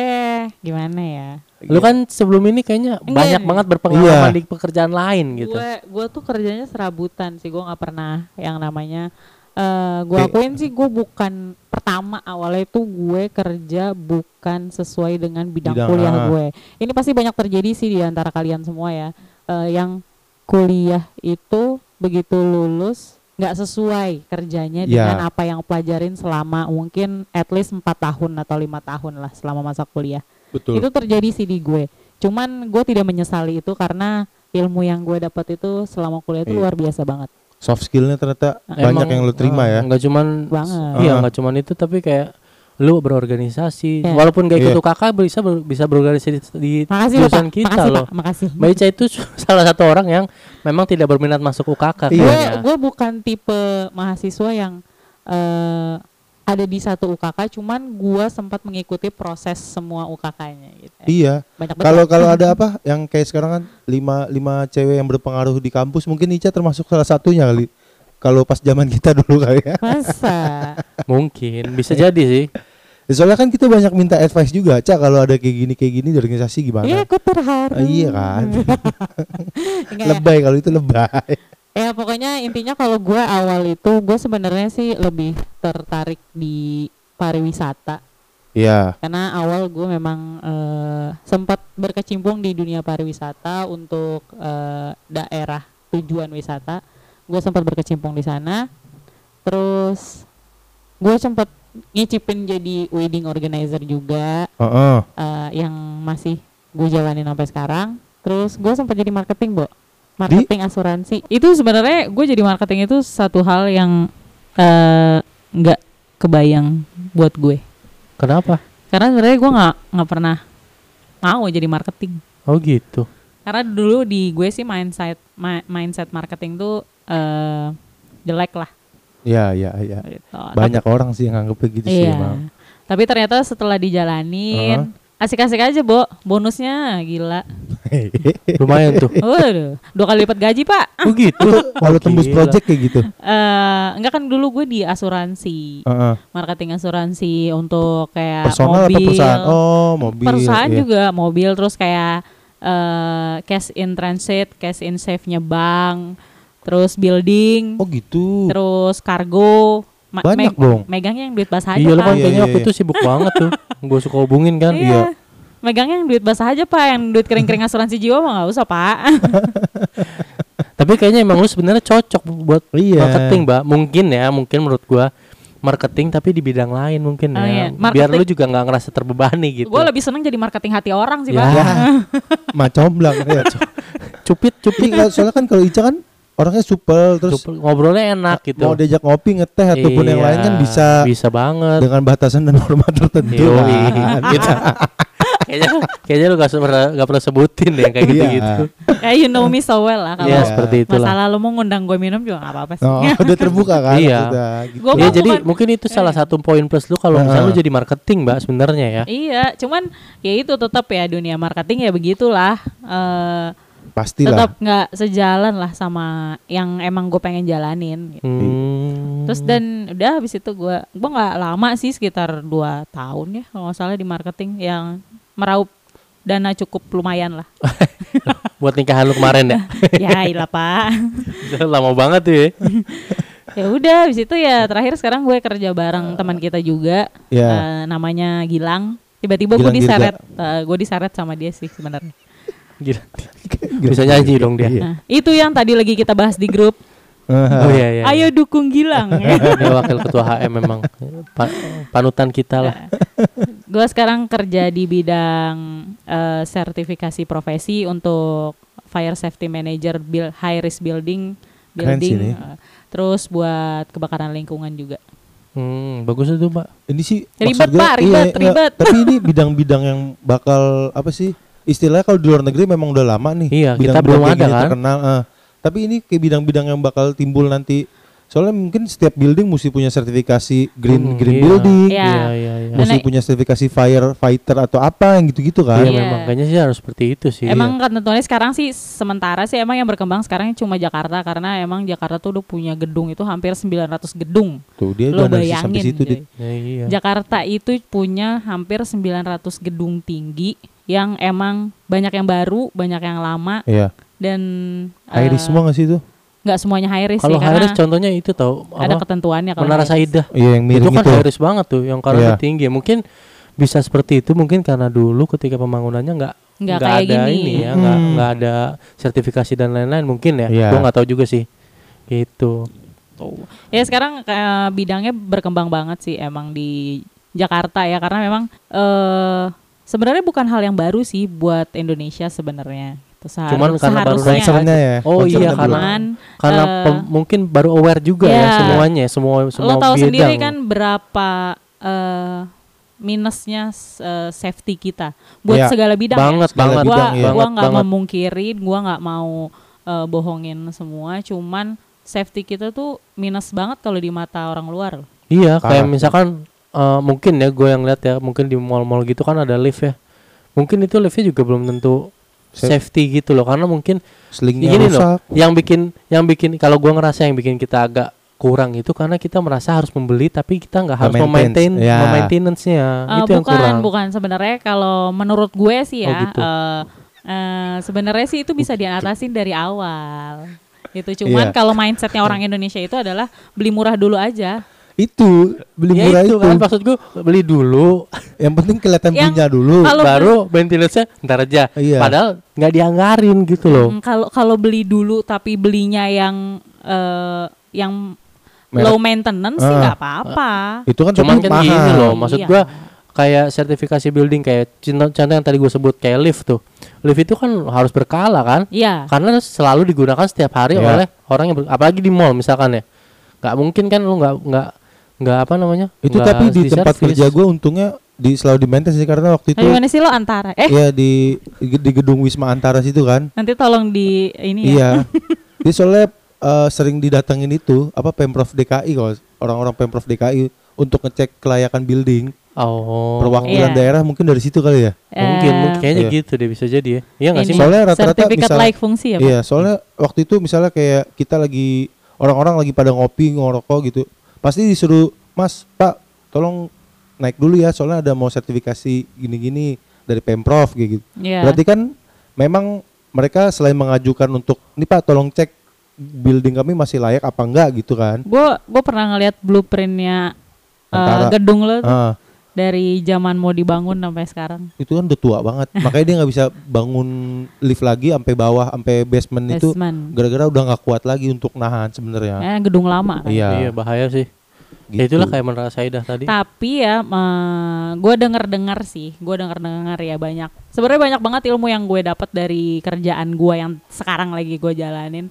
Speaker 3: gimana ya?
Speaker 1: Lu kan sebelum ini kayaknya
Speaker 3: Enggak
Speaker 1: banyak
Speaker 3: nih.
Speaker 1: banget berpengalaman
Speaker 2: Iya.
Speaker 1: di pekerjaan lain gitu.
Speaker 3: Gue gue tuh kerjanya serabutan sih. Gue nggak pernah yang namanya eh gue akuin sih gue bukan pertama awalnya itu gue kerja bukan sesuai dengan bidang,
Speaker 2: Bidang,
Speaker 3: kuliah
Speaker 2: ah.
Speaker 3: gue. Ini pasti banyak terjadi sih di antara kalian semua ya. Eh yang kuliah itu begitu lulus nggak sesuai kerjanya
Speaker 2: Ya.
Speaker 3: dengan apa yang pelajarin selama mungkin at least empat tahun atau lima tahun lah selama masa kuliah.
Speaker 2: Betul.
Speaker 3: Itu terjadi sih di gue. Cuman gue tidak menyesali itu karena ilmu yang gue dapat itu selama kuliah itu
Speaker 2: Iya.
Speaker 3: luar biasa banget.
Speaker 2: Soft skillnya ternyata
Speaker 1: Emang,
Speaker 2: banyak yang lu terima
Speaker 1: eh,
Speaker 2: ya.
Speaker 1: Nggak cuman
Speaker 3: Banget.
Speaker 1: Iya,
Speaker 2: Ah.
Speaker 1: nggak cuman itu tapi kayak lu berorganisasi.
Speaker 3: Iya.
Speaker 1: Walaupun gak ikut
Speaker 2: Iya.
Speaker 1: UKK bisa ber- bisa berorganisasi di, di
Speaker 3: Makasih loh, Pak.
Speaker 1: jurusan kita
Speaker 3: Makasih,
Speaker 1: loh.
Speaker 3: Pak. Makasih.
Speaker 1: Mbak Ica itu salah satu orang yang memang tidak berminat masuk UKK
Speaker 2: Iya.
Speaker 3: Gue
Speaker 1: kayaknya.
Speaker 3: gue bukan tipe mahasiswa yang eh, ada di satu UKK, cuman gue sempat mengikuti proses semua UKK-nya gitu.
Speaker 2: Iya.
Speaker 3: Banyak banget.
Speaker 2: Kalau kalau ada apa yang kayak sekarang kan lima lima cewek yang berpengaruh di kampus mungkin Ica termasuk salah satunya kali. Kalau pas zaman kita dulu kali ya.
Speaker 3: masa
Speaker 1: Mungkin bisa jadi sih.
Speaker 2: Soalnya kan kita banyak minta advice juga, Ca kalau ada kayak gini kayak gini di organisasi gimana?
Speaker 3: Iya, aku terharu.
Speaker 2: Ah, iya kan.
Speaker 3: Enggak ya.
Speaker 2: lebay kalau itu lebay.
Speaker 3: Ya pokoknya intinya kalau gue awal itu gue sebenarnya sih lebih tertarik di pariwisata
Speaker 2: Iya.
Speaker 3: karena awal gue memang eh, sempat berkecimpung di dunia pariwisata untuk eh, daerah tujuan wisata gue sempat berkecimpung di sana terus gue sempat ngicipin jadi wedding organizer juga
Speaker 2: Heeh.
Speaker 3: eh, yang masih gue jalanin sampai sekarang terus gue sempat jadi marketing bu marketing asuransi itu sebenarnya gue jadi marketing itu satu hal yang eh, nggak kebayang buat gue
Speaker 1: Kenapa?
Speaker 3: karena sebenarnya gue nggak nggak pernah mau jadi marketing
Speaker 1: Oh gitu.
Speaker 3: karena dulu di gue sih mindset ma- mindset marketing tuh eh, jelek lah
Speaker 2: Iya, iya, iya.
Speaker 3: gitu.
Speaker 2: Banyak orang sih yang nganggep gitu sih,
Speaker 3: iya.
Speaker 2: emang.
Speaker 3: tapi ternyata setelah dijalanin asik-asik aja bo bonusnya gila
Speaker 1: Lumayan tuh.
Speaker 3: Waduh, dua kali lipat gaji pak
Speaker 1: Oh gitu.
Speaker 2: Kalau tembus
Speaker 1: Gila.
Speaker 2: project kayak gitu.
Speaker 3: eh enggak kan dulu gue di asuransi
Speaker 2: Heeh.
Speaker 3: marketing asuransi untuk kayak
Speaker 2: Personal
Speaker 3: Ya, mobil
Speaker 2: apa perusahaan? Oh, mobil.
Speaker 3: perusahaan
Speaker 2: iya.
Speaker 3: juga mobil terus kayak eh, cash in transit, cash in safe-nya bank, terus building,
Speaker 2: Oh, gitu.
Speaker 3: terus kargo. Ma-
Speaker 2: Banyak dong.
Speaker 3: Megangnya yang duit basah aja
Speaker 1: Iya lu
Speaker 3: pak.
Speaker 1: kan
Speaker 2: Iya,
Speaker 1: kayaknya
Speaker 2: iya,
Speaker 1: waktu
Speaker 2: iya.
Speaker 1: itu sibuk banget tuh. Gue suka hubungin kan.
Speaker 3: Iya. Megangnya yang duit basah aja pak, yang duit kering-kering asuransi jiwa mah nggak usah pak.
Speaker 1: Tapi kayaknya emang lu sebenarnya cocok buat
Speaker 2: Iya.
Speaker 1: marketing, Mbak. Mungkin ya, mungkin menurut gua marketing tapi di bidang lain mungkin
Speaker 3: Oh,
Speaker 1: ya.
Speaker 3: iya.
Speaker 1: Biar
Speaker 3: Marketing-
Speaker 1: lu juga nggak ngerasa terbebani gitu.
Speaker 3: gue lebih seneng jadi marketing hati orang sih
Speaker 2: Ya.
Speaker 3: pak.
Speaker 2: Mah comblang ya.
Speaker 1: cupit
Speaker 2: Tapi
Speaker 1: cupit
Speaker 2: kalau- soalnya kan kalau Ica kan orangnya supel terus
Speaker 1: Cupit, ngobrolnya enak gitu.
Speaker 2: mau diajak ngopi ngeteh ataupun yang
Speaker 1: Iya,
Speaker 2: lain kan bisa
Speaker 1: bisa banget.
Speaker 2: dengan batasan dan hormat tertentu.
Speaker 1: Yoi.
Speaker 2: kan.
Speaker 1: Gitu. kayaknya kayaknya lu gak pernah gak pernah sebutin deh yang kayak
Speaker 2: Iya.
Speaker 1: gitu-gitu.
Speaker 3: ya you know me so well lah kalau
Speaker 1: Iya, seperti itulah.
Speaker 3: masalah lu mau ngundang gue minum juga nggak apa-apa sih.
Speaker 2: Oh, udah terbuka kan
Speaker 1: Iya.
Speaker 2: maksudnya, gitu.
Speaker 3: Gua
Speaker 1: Ya jadi
Speaker 3: mau- Oh, bukan- Iya,
Speaker 1: mungkin itu salah satu poin plus lu kalau
Speaker 2: Heeh.
Speaker 1: misalnya lu jadi marketing, Mbak, sebenarnya ya.
Speaker 3: Iya, cuman ya itu tetap ya dunia marketing ya begitulah. Eh
Speaker 2: Pastilah.
Speaker 3: tetap nggak sejalan lah sama yang emang gue pengen jalanin. gitu.
Speaker 1: Hmm.
Speaker 3: Terus dan udah habis itu gua gua nggak lama sih sekitar dua tahun ya kalau nggak salah di marketing yang meraup dana cukup lumayan lah.
Speaker 1: buat nikahan lu kemarin ya
Speaker 3: ya ilah pak.
Speaker 1: lama banget tuh ya
Speaker 3: Ya udah habis itu ya terakhir sekarang gue kerja bareng teman kita juga
Speaker 2: Ya.
Speaker 3: eh, namanya Gilang. Tiba-tiba gue
Speaker 2: Gilang Dirga.
Speaker 3: diseret eh, gue diseret sama dia sih sebenarnya.
Speaker 1: Gila.
Speaker 2: Gitu.
Speaker 1: bisa nyanyi
Speaker 2: ya.
Speaker 1: dong
Speaker 2: Iya.
Speaker 1: dia
Speaker 3: Nah, itu yang tadi lagi kita bahas di grup.
Speaker 1: oh iya iya
Speaker 3: Ayo dukung Gilang.
Speaker 1: dia wakil ketua HM memang Pa- panutan kita lah
Speaker 3: Iya. gue sekarang kerja di bidang eh, sertifikasi profesi untuk fire safety manager build high risk building
Speaker 2: Keren sih
Speaker 3: building
Speaker 2: ini.
Speaker 3: eh, terus buat kebakaran lingkungan juga
Speaker 1: hmm, bagus itu pak
Speaker 2: Ini sih
Speaker 3: Ribet,
Speaker 2: maksud gua-
Speaker 3: Pak, ribet,
Speaker 2: enggak,
Speaker 3: ribet.
Speaker 2: Tapi ini bidang-bidang yang bakal apa sih? Istilahnya kalau di luar negeri memang udah lama nih.
Speaker 1: Iya, kita
Speaker 2: bidang-bidang
Speaker 1: belum
Speaker 2: kayak
Speaker 1: ada
Speaker 2: gini
Speaker 1: kan.
Speaker 2: Terkenal. eh. Tapi ini ke bidang-bidang yang bakal timbul nanti. Soalnya mungkin setiap building mesti punya sertifikasi green
Speaker 1: Hmm,
Speaker 2: green
Speaker 1: iya.
Speaker 2: building,
Speaker 1: iya
Speaker 3: Iya.
Speaker 1: iya iya
Speaker 3: Dan-
Speaker 2: mesti
Speaker 3: Nah,
Speaker 2: punya sertifikasi firefighter atau apa yang gitu-gitu kan.
Speaker 1: Iya
Speaker 3: Iya.
Speaker 1: memang kayaknya sih harus seperti itu
Speaker 2: Iya.
Speaker 1: sih. iya.
Speaker 3: emang kan tentunya sekarang sih sementara sih emang yang berkembang sekarang cuma Jakarta karena emang Jakarta tuh udah punya gedung itu hampir 900 gedung
Speaker 2: Tuh dia Iya,
Speaker 3: lo
Speaker 2: udah analisis sampai
Speaker 3: bayangin
Speaker 2: situ.
Speaker 3: Joy.
Speaker 2: Dit.
Speaker 1: Ya, iya.
Speaker 3: Jakarta itu punya hampir 900 gedung tinggi yang emang banyak yang baru banyak yang lama
Speaker 2: Iya.
Speaker 3: dan
Speaker 2: High
Speaker 3: eh,
Speaker 2: risk semua gak sih itu?
Speaker 3: nggak semuanya high risk
Speaker 1: Kalau
Speaker 3: sih karena
Speaker 1: Harris contohnya itu tau
Speaker 3: ada
Speaker 1: apa?
Speaker 3: ketentuannya kalau
Speaker 1: Menara
Speaker 3: high risk.
Speaker 1: Saidah.
Speaker 2: Iya yang
Speaker 1: Itu
Speaker 2: miring
Speaker 1: kan
Speaker 2: itu.
Speaker 1: Harris banget tuh yang karena
Speaker 2: Iya.
Speaker 1: tinggi. Mungkin bisa seperti itu mungkin karena dulu ketika pembangunannya nggak
Speaker 3: Nggak
Speaker 1: nggak
Speaker 3: kayak
Speaker 1: ada
Speaker 3: gini.
Speaker 1: ini ya, nggak
Speaker 2: Hmm.
Speaker 1: nggak ada sertifikasi dan lain-lain mungkin ya.
Speaker 2: Iya.
Speaker 1: Gua nggak tahu juga sih. Gitu.
Speaker 3: Tuh. ya sekarang eh, bidangnya berkembang banget sih emang di Jakarta ya karena memang eh sebenarnya bukan hal yang baru sih buat Indonesia sebenarnya Itu sehar-
Speaker 1: Cuman karena baru
Speaker 3: seharusnya-
Speaker 1: naik
Speaker 2: Concernnya ya.
Speaker 1: Oh
Speaker 2: concernnya
Speaker 1: iya
Speaker 2: belum.
Speaker 1: karena
Speaker 3: Cuman,
Speaker 1: karena
Speaker 3: eh,
Speaker 1: pem- mungkin baru aware juga
Speaker 3: iya.
Speaker 1: ya semuanya, semua semua
Speaker 3: lo tahu
Speaker 1: bidang.
Speaker 3: sendiri kan berapa eh, minusnya s- eh, safety kita buat
Speaker 2: Iya,
Speaker 3: segala bidang ya.
Speaker 1: banget
Speaker 2: Segala
Speaker 1: banget
Speaker 2: bidang,
Speaker 1: banget
Speaker 2: ya.
Speaker 3: gua gua
Speaker 1: banget
Speaker 3: nggak
Speaker 1: banget.
Speaker 3: memungkirin gua nggak mau eh, bohongin semua cuman safety kita tuh minus banget kalau di mata orang luar loh.
Speaker 1: Iya,
Speaker 2: Parah.
Speaker 1: kayak misalkan eh, mungkin ya gue yang lihat ya, mungkin di mall-mall gitu kan ada lift ya. Mungkin itu liftnya juga belum tentu
Speaker 2: Sa-
Speaker 1: safety gitu loh, karena mungkin
Speaker 2: Selingnya
Speaker 1: Ya, gini loh,
Speaker 2: rusak.
Speaker 1: yang bikin yang bikin kalau gue ngerasa yang bikin kita agak kurang itu karena kita merasa harus membeli tapi kita nggak harus
Speaker 2: Memaintain,
Speaker 1: memaintain
Speaker 2: ya.
Speaker 1: memaintenance-nya.
Speaker 3: Eh,
Speaker 1: itu yang
Speaker 3: bukan
Speaker 1: kurang.
Speaker 3: bukan sebenarnya kalau menurut gue sih
Speaker 1: Oh,
Speaker 3: ya
Speaker 1: gitu.
Speaker 3: eh, eh, sebenarnya sih itu bisa diatasin dari awal gitu cuman
Speaker 2: Iya.
Speaker 3: kalau mindsetnya orang Indonesia itu adalah beli murah dulu aja
Speaker 2: Itu beli
Speaker 1: Ya
Speaker 2: murah
Speaker 1: itu
Speaker 2: itu.
Speaker 1: kan maksud gue beli dulu
Speaker 2: Yang penting kelihatan
Speaker 3: Yang
Speaker 2: punya dulu.
Speaker 3: kalau
Speaker 1: baru maintenance-nya ntar aja.
Speaker 2: Iya.
Speaker 1: Padahal nggak dianggarin gitu loh.
Speaker 3: Mm, kalau kalau beli dulu tapi belinya yang eh, yang
Speaker 2: Merek.
Speaker 3: low maintenance sih
Speaker 2: Ah.
Speaker 3: nggak apa-apa
Speaker 2: Itu kan
Speaker 1: Cuman
Speaker 2: tapi
Speaker 1: kan
Speaker 2: mahal.
Speaker 1: gini loh, maksud
Speaker 3: Iya.
Speaker 1: gua kayak sertifikasi building kayak contoh contoh yang tadi gue sebut kayak lift tuh. Lift itu kan harus berkala kan?
Speaker 3: Iya.
Speaker 1: Karena selalu digunakan setiap hari
Speaker 2: Iya.
Speaker 1: oleh orang yang ber- apalagi di mall misalkan ya. nggak mungkin kan lu nggak nggak nggak apa namanya?
Speaker 2: Itu
Speaker 1: nggak
Speaker 2: tapi di tempat
Speaker 1: diservis.
Speaker 2: kerja gue untungnya di selalu di maintain sih karena waktu itu
Speaker 3: Tapi gimana sih lo antara? Eh,
Speaker 2: ya di di gedung Wisma Antara situ kan.
Speaker 3: nanti tolong di ini ya.
Speaker 2: Iya. Jadi soalnya eh, sering didatengin itu apa Pemprov DKI kalau orang-orang Pemprov DKI untuk ngecek kelayakan building
Speaker 1: Oh.
Speaker 2: perwakilan
Speaker 3: Iya.
Speaker 2: daerah mungkin dari situ kali ya.
Speaker 1: Mungkin,
Speaker 3: Eh,
Speaker 1: mungkin kayaknya
Speaker 2: Iya.
Speaker 1: gitu deh bisa jadi ya. Iya nggak sih?
Speaker 3: ini,
Speaker 1: Mak?
Speaker 2: Soalnya rata-rata
Speaker 3: sertifikat
Speaker 2: misalnya-
Speaker 3: layak fungsi ya, Pak?
Speaker 2: Iya, soalnya waktu itu misalnya kayak kita lagi orang-orang lagi pada ngopi, ngerokok gitu. Pasti disuruh, "Mas, Pak, tolong naik dulu ya, soalnya ada mau sertifikasi gini-gini dari Pemprov kayak gitu."
Speaker 3: Iya.
Speaker 2: Berarti kan memang mereka selain mengajukan untuk, "Nih Pak, tolong cek building kami masih layak apa enggak" gitu kan.
Speaker 3: Gue gue pernah ngelihat blueprintnya eh,
Speaker 2: Antara.
Speaker 3: gedung lo tuh,
Speaker 2: Ah,
Speaker 3: dari zaman mau dibangun sampai sekarang.
Speaker 2: itu kan udah tua banget. Makanya dia nggak bisa bangun lift lagi sampai bawah, sampai basement, itu
Speaker 3: Basement.
Speaker 2: gara-gara udah nggak kuat lagi untuk nahan sebenarnya.
Speaker 3: Eh, gedung lama kan.
Speaker 1: Iya, bahaya sih. Ya
Speaker 2: gitu.
Speaker 1: itulah kayak menurut Saidah tadi.
Speaker 3: Tapi ya, gue denger-dengar sih, gue denger-dengar ya banyak. Sebenarnya banyak banget ilmu yang gue dapat dari kerjaan gue yang sekarang lagi gue jalanin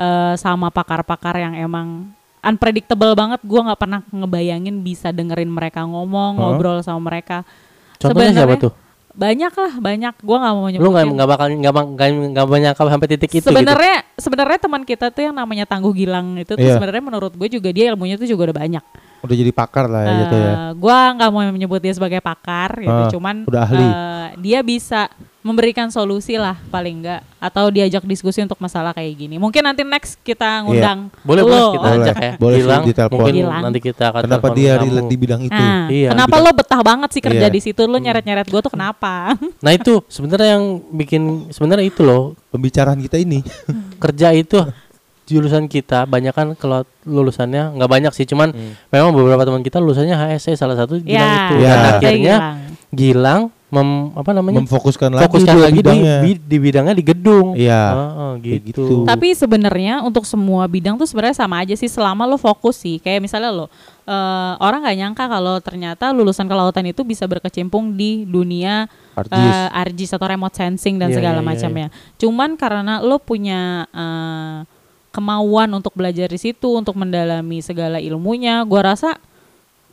Speaker 3: eh, sama pakar-pakar yang emang unpredictable banget. Gue nggak pernah ngebayangin bisa dengerin mereka
Speaker 2: Hah?
Speaker 3: ngomong, ngobrol sama mereka.
Speaker 1: Contohnya siapa
Speaker 3: Sebenarnya
Speaker 1: tuh?
Speaker 3: Banyak lah, banyak. Gue nggak
Speaker 1: Lu
Speaker 3: mau
Speaker 1: nggak
Speaker 3: nyebutin.
Speaker 1: nggak bakal nggak bak- nggak nggak menyangka sampai titik itu. gitu?
Speaker 3: Sebenarnya sebenarnya teman kita tuh yang namanya Tangguh Gilang itu tuh
Speaker 2: Iya.
Speaker 3: sebenarnya menurut gue juga dia ilmunya tuh juga udah banyak.
Speaker 2: udah jadi pakar lah ya
Speaker 3: Ah.
Speaker 2: gitu ya.
Speaker 3: Eh, gua nggak mau menyebut dia sebagai pakar gitu,
Speaker 2: Ah,
Speaker 3: cuman
Speaker 2: udah ahli.
Speaker 3: eh, dia bisa memberikan solusi lah paling enggak atau diajak diskusi untuk masalah kayak gini. Mungkin nanti next kita ngundang
Speaker 1: Boleh
Speaker 3: lo.
Speaker 1: boleh kita
Speaker 2: Iya. Boleh,
Speaker 1: ajak ya.
Speaker 2: boleh
Speaker 1: Gilang,
Speaker 2: sih ditelepon.
Speaker 1: mungkin
Speaker 3: Gilang.
Speaker 1: nanti kita akan
Speaker 2: Kenapa
Speaker 1: telepon
Speaker 2: dia
Speaker 1: kamu.
Speaker 2: relate di bidang itu?
Speaker 3: Nah,
Speaker 1: Iya, Hmm.
Speaker 3: kenapa lo betah banget sih kerja
Speaker 2: Iya.
Speaker 3: di situ? Lo nyeret-nyeret gue tuh kenapa?
Speaker 1: Nah itu sebenarnya yang bikin sebenarnya itu loh
Speaker 2: Pembicaraan kita ini.
Speaker 1: kerja itu jurusan kita banyak kan kalau lulusannya nggak banyak sih cuman memang beberapa teman kita lulusannya HSE salah satu bilang itu
Speaker 3: Ya,
Speaker 2: Hmm. Ya.
Speaker 1: dan
Speaker 2: Kayak
Speaker 1: akhirnya Gilang mem, apa namanya
Speaker 2: memfokuskan lagi
Speaker 1: fokuskan
Speaker 2: dia
Speaker 1: lagi di,
Speaker 2: bidangnya.
Speaker 1: bi- di bidangnya di gedung
Speaker 2: Iya.
Speaker 1: Heeh,
Speaker 2: Kayak
Speaker 1: gitu.
Speaker 2: gitu.
Speaker 3: Tapi sebenarnya untuk semua bidang tuh sebenarnya sama aja sih selama lo fokus sih. Kayak misalnya lo eh, orang nggak nyangka kalau ternyata lulusan kelautan itu bisa berkecimpung di dunia
Speaker 2: Artis.
Speaker 3: eh, RGs atau remote sensing dan
Speaker 1: Iya, iya,
Speaker 3: segala
Speaker 1: iya,
Speaker 3: macamnya. Cuman karena lo punya eh, kemauan untuk belajar di situ, untuk mendalami segala ilmunya, gua rasa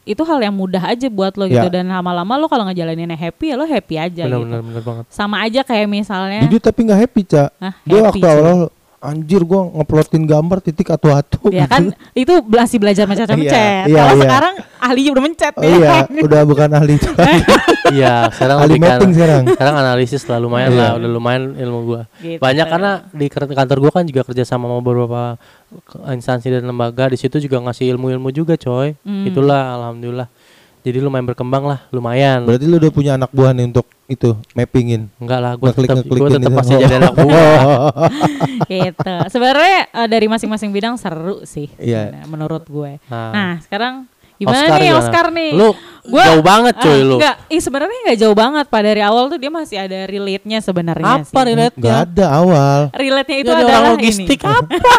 Speaker 3: itu hal yang mudah aja buat lo gitu
Speaker 2: Ya.
Speaker 3: dan lama-lama lo kalau ngejalaninnya happy ya lo happy aja
Speaker 1: Iya. benar
Speaker 3: gitu.
Speaker 1: benar benar banget
Speaker 3: Sama aja kayak misalnya
Speaker 2: Jujur tapi nggak happy, Ca.
Speaker 3: ya. ah,
Speaker 2: Dia
Speaker 3: happy
Speaker 2: waktu
Speaker 3: sih.
Speaker 2: awal anjir gua ngeplotin gambar titik atu-atu.
Speaker 1: Iya
Speaker 3: Ya kan itu masih belajar mencet-mencet.
Speaker 2: Iya,
Speaker 3: Kalau
Speaker 2: iya.
Speaker 3: sekarang ahlinya udah mencet
Speaker 2: Oh
Speaker 3: ya
Speaker 2: iya,
Speaker 3: kan?
Speaker 2: udah bukan ahli itu lagi.
Speaker 1: iya sekarang
Speaker 2: ahli
Speaker 1: lebih ke
Speaker 2: mapping
Speaker 1: arah-
Speaker 2: sekarang.
Speaker 1: sekarang analisis lah lumayan
Speaker 2: Iya.
Speaker 1: lah udah lumayan ilmu gua
Speaker 3: Gitu.
Speaker 1: banyak karena di ker- kantor gua kan juga kerja sama sama beberapa ke- instansi dan lembaga di situ juga ngasih ilmu-ilmu juga coy
Speaker 3: Hmm.
Speaker 1: itulah alhamdulillah jadi lumayan berkembang lah lumayan
Speaker 2: Berarti lu udah punya anak buah nih untuk itu mappingin. Oh,
Speaker 1: enggak lah gua
Speaker 2: Ngeklik-
Speaker 1: tetap
Speaker 2: ngeklikin
Speaker 1: gua tetap
Speaker 2: itu.
Speaker 1: pasti jadi anak
Speaker 3: Ah.
Speaker 1: buah
Speaker 3: gitu. Sebenarnya eh, dari masing-masing bidang seru sih
Speaker 2: Iya.
Speaker 3: sebenarnya, menurut gue.
Speaker 1: Nah.
Speaker 3: Nah, sekarang gimana
Speaker 1: Oscar
Speaker 3: nih
Speaker 1: gimana?
Speaker 3: Oscar nih?
Speaker 1: Lu
Speaker 3: Gua-
Speaker 1: jauh banget
Speaker 3: Ah,
Speaker 1: coy lu.
Speaker 3: Enggak, ih sebenarnya enggak jauh banget. Pak dari awal tuh dia masih ada relate-nya sebenarnya
Speaker 1: Apa
Speaker 3: sih.
Speaker 2: Nggak
Speaker 1: relate-nya?
Speaker 2: ada awal.
Speaker 3: Relate-nya itu
Speaker 1: Dia ada
Speaker 3: adalah
Speaker 1: orang logistik
Speaker 3: ini.
Speaker 1: apa?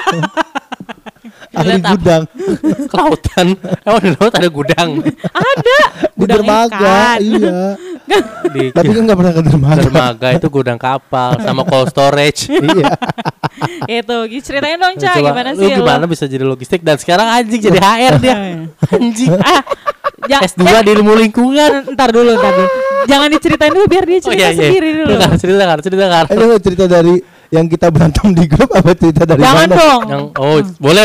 Speaker 2: Ahli
Speaker 3: Relate apa?
Speaker 2: gudang.
Speaker 1: Kelautan. Emang di laut ada gudang.
Speaker 3: Ada.
Speaker 2: Di
Speaker 3: Gudang
Speaker 2: dermaga,
Speaker 3: ikan.
Speaker 2: iya.
Speaker 1: Di
Speaker 2: Tapi kan nggak pernah ke dermaga.
Speaker 1: dermaga itu gudang kapal sama cold storage.
Speaker 2: iya.
Speaker 3: Itu, gitu. ceritain dong, Ca,
Speaker 1: Coba,
Speaker 3: gimana
Speaker 1: lu
Speaker 3: sih lu?
Speaker 1: gimana bisa jadi logistik dan sekarang anjing jadi HR dia. anjing.
Speaker 3: Ah, ya, ja-
Speaker 1: S2 di ilmu lingkungan.
Speaker 3: eh,
Speaker 1: iya,
Speaker 3: ntar dulu, ntar dulu. Jangan diceritain dulu biar dia
Speaker 1: Oh,
Speaker 3: cerita sendiri dulu. Eh,
Speaker 1: Dengar, cerita kan, cerita kan.
Speaker 2: Ada nggak cerita dari yang kita berantem di grup apa cerita dari
Speaker 3: Jangan
Speaker 2: mana?
Speaker 3: dong.
Speaker 1: Yang oh, boleh.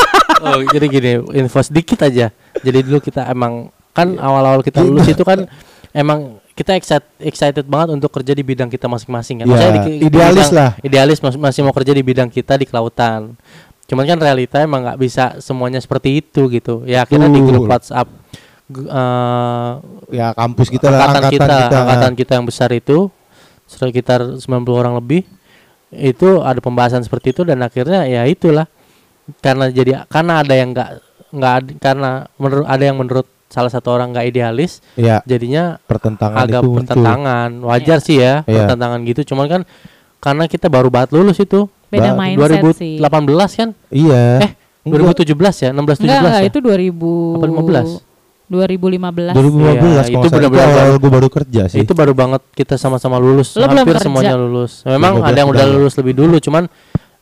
Speaker 1: oh, jadi gini, info sedikit aja. Jadi dulu kita emang kan
Speaker 2: Iya.
Speaker 1: awal-awal kita lulus itu kan emang kita excited, excited banget untuk kerja di bidang kita masing-masing kan.
Speaker 2: Ya,
Speaker 1: Maksudnya
Speaker 2: idealis
Speaker 1: bidang-
Speaker 2: lah.
Speaker 1: Idealis mas- masih mau kerja di bidang kita di kelautan. Cuman kan realita emang nggak bisa semuanya seperti itu gitu. Ya akhirnya di grup
Speaker 2: Betul.
Speaker 1: WhatsApp gu- eh,
Speaker 2: Ya kampus kita lah,
Speaker 1: angkatan,
Speaker 2: angkatan,
Speaker 1: kita,
Speaker 2: kita.
Speaker 1: angkatan kita yang besar itu sekitar 90 orang lebih itu ada pembahasan seperti itu dan akhirnya ya itulah karena jadi karena ada yang nggak nggak ad- karena menurut ada yang menurut salah satu orang nggak idealis
Speaker 2: Ya
Speaker 1: jadinya
Speaker 2: pertentangan
Speaker 1: agak
Speaker 2: itu muncul.
Speaker 1: pertentangan wajar sih ya
Speaker 2: Iya.
Speaker 1: pertentangan gitu cuman kan karena kita baru banget lulus itu
Speaker 3: Beda
Speaker 2: Ba-
Speaker 3: mindset sih.
Speaker 1: 2018 kan
Speaker 2: Iya.
Speaker 1: eh 2017 ya 16 17
Speaker 3: Enggak, enggak,
Speaker 1: ya
Speaker 3: itu 2000
Speaker 1: Apa 15? Iya,
Speaker 2: 2015 kalau
Speaker 3: 2015.
Speaker 1: itu
Speaker 2: nggak salah.
Speaker 1: benar-benar
Speaker 2: awal
Speaker 1: baru-
Speaker 2: gue baru kerja sih.
Speaker 1: Itu baru banget kita sama-sama lulus.
Speaker 3: Lo belum
Speaker 1: Hampir
Speaker 3: kerja.
Speaker 1: semuanya lulus. Memang
Speaker 2: Belum, belum
Speaker 1: ada yang udah
Speaker 2: kerja.
Speaker 1: lulus lebih dulu, cuman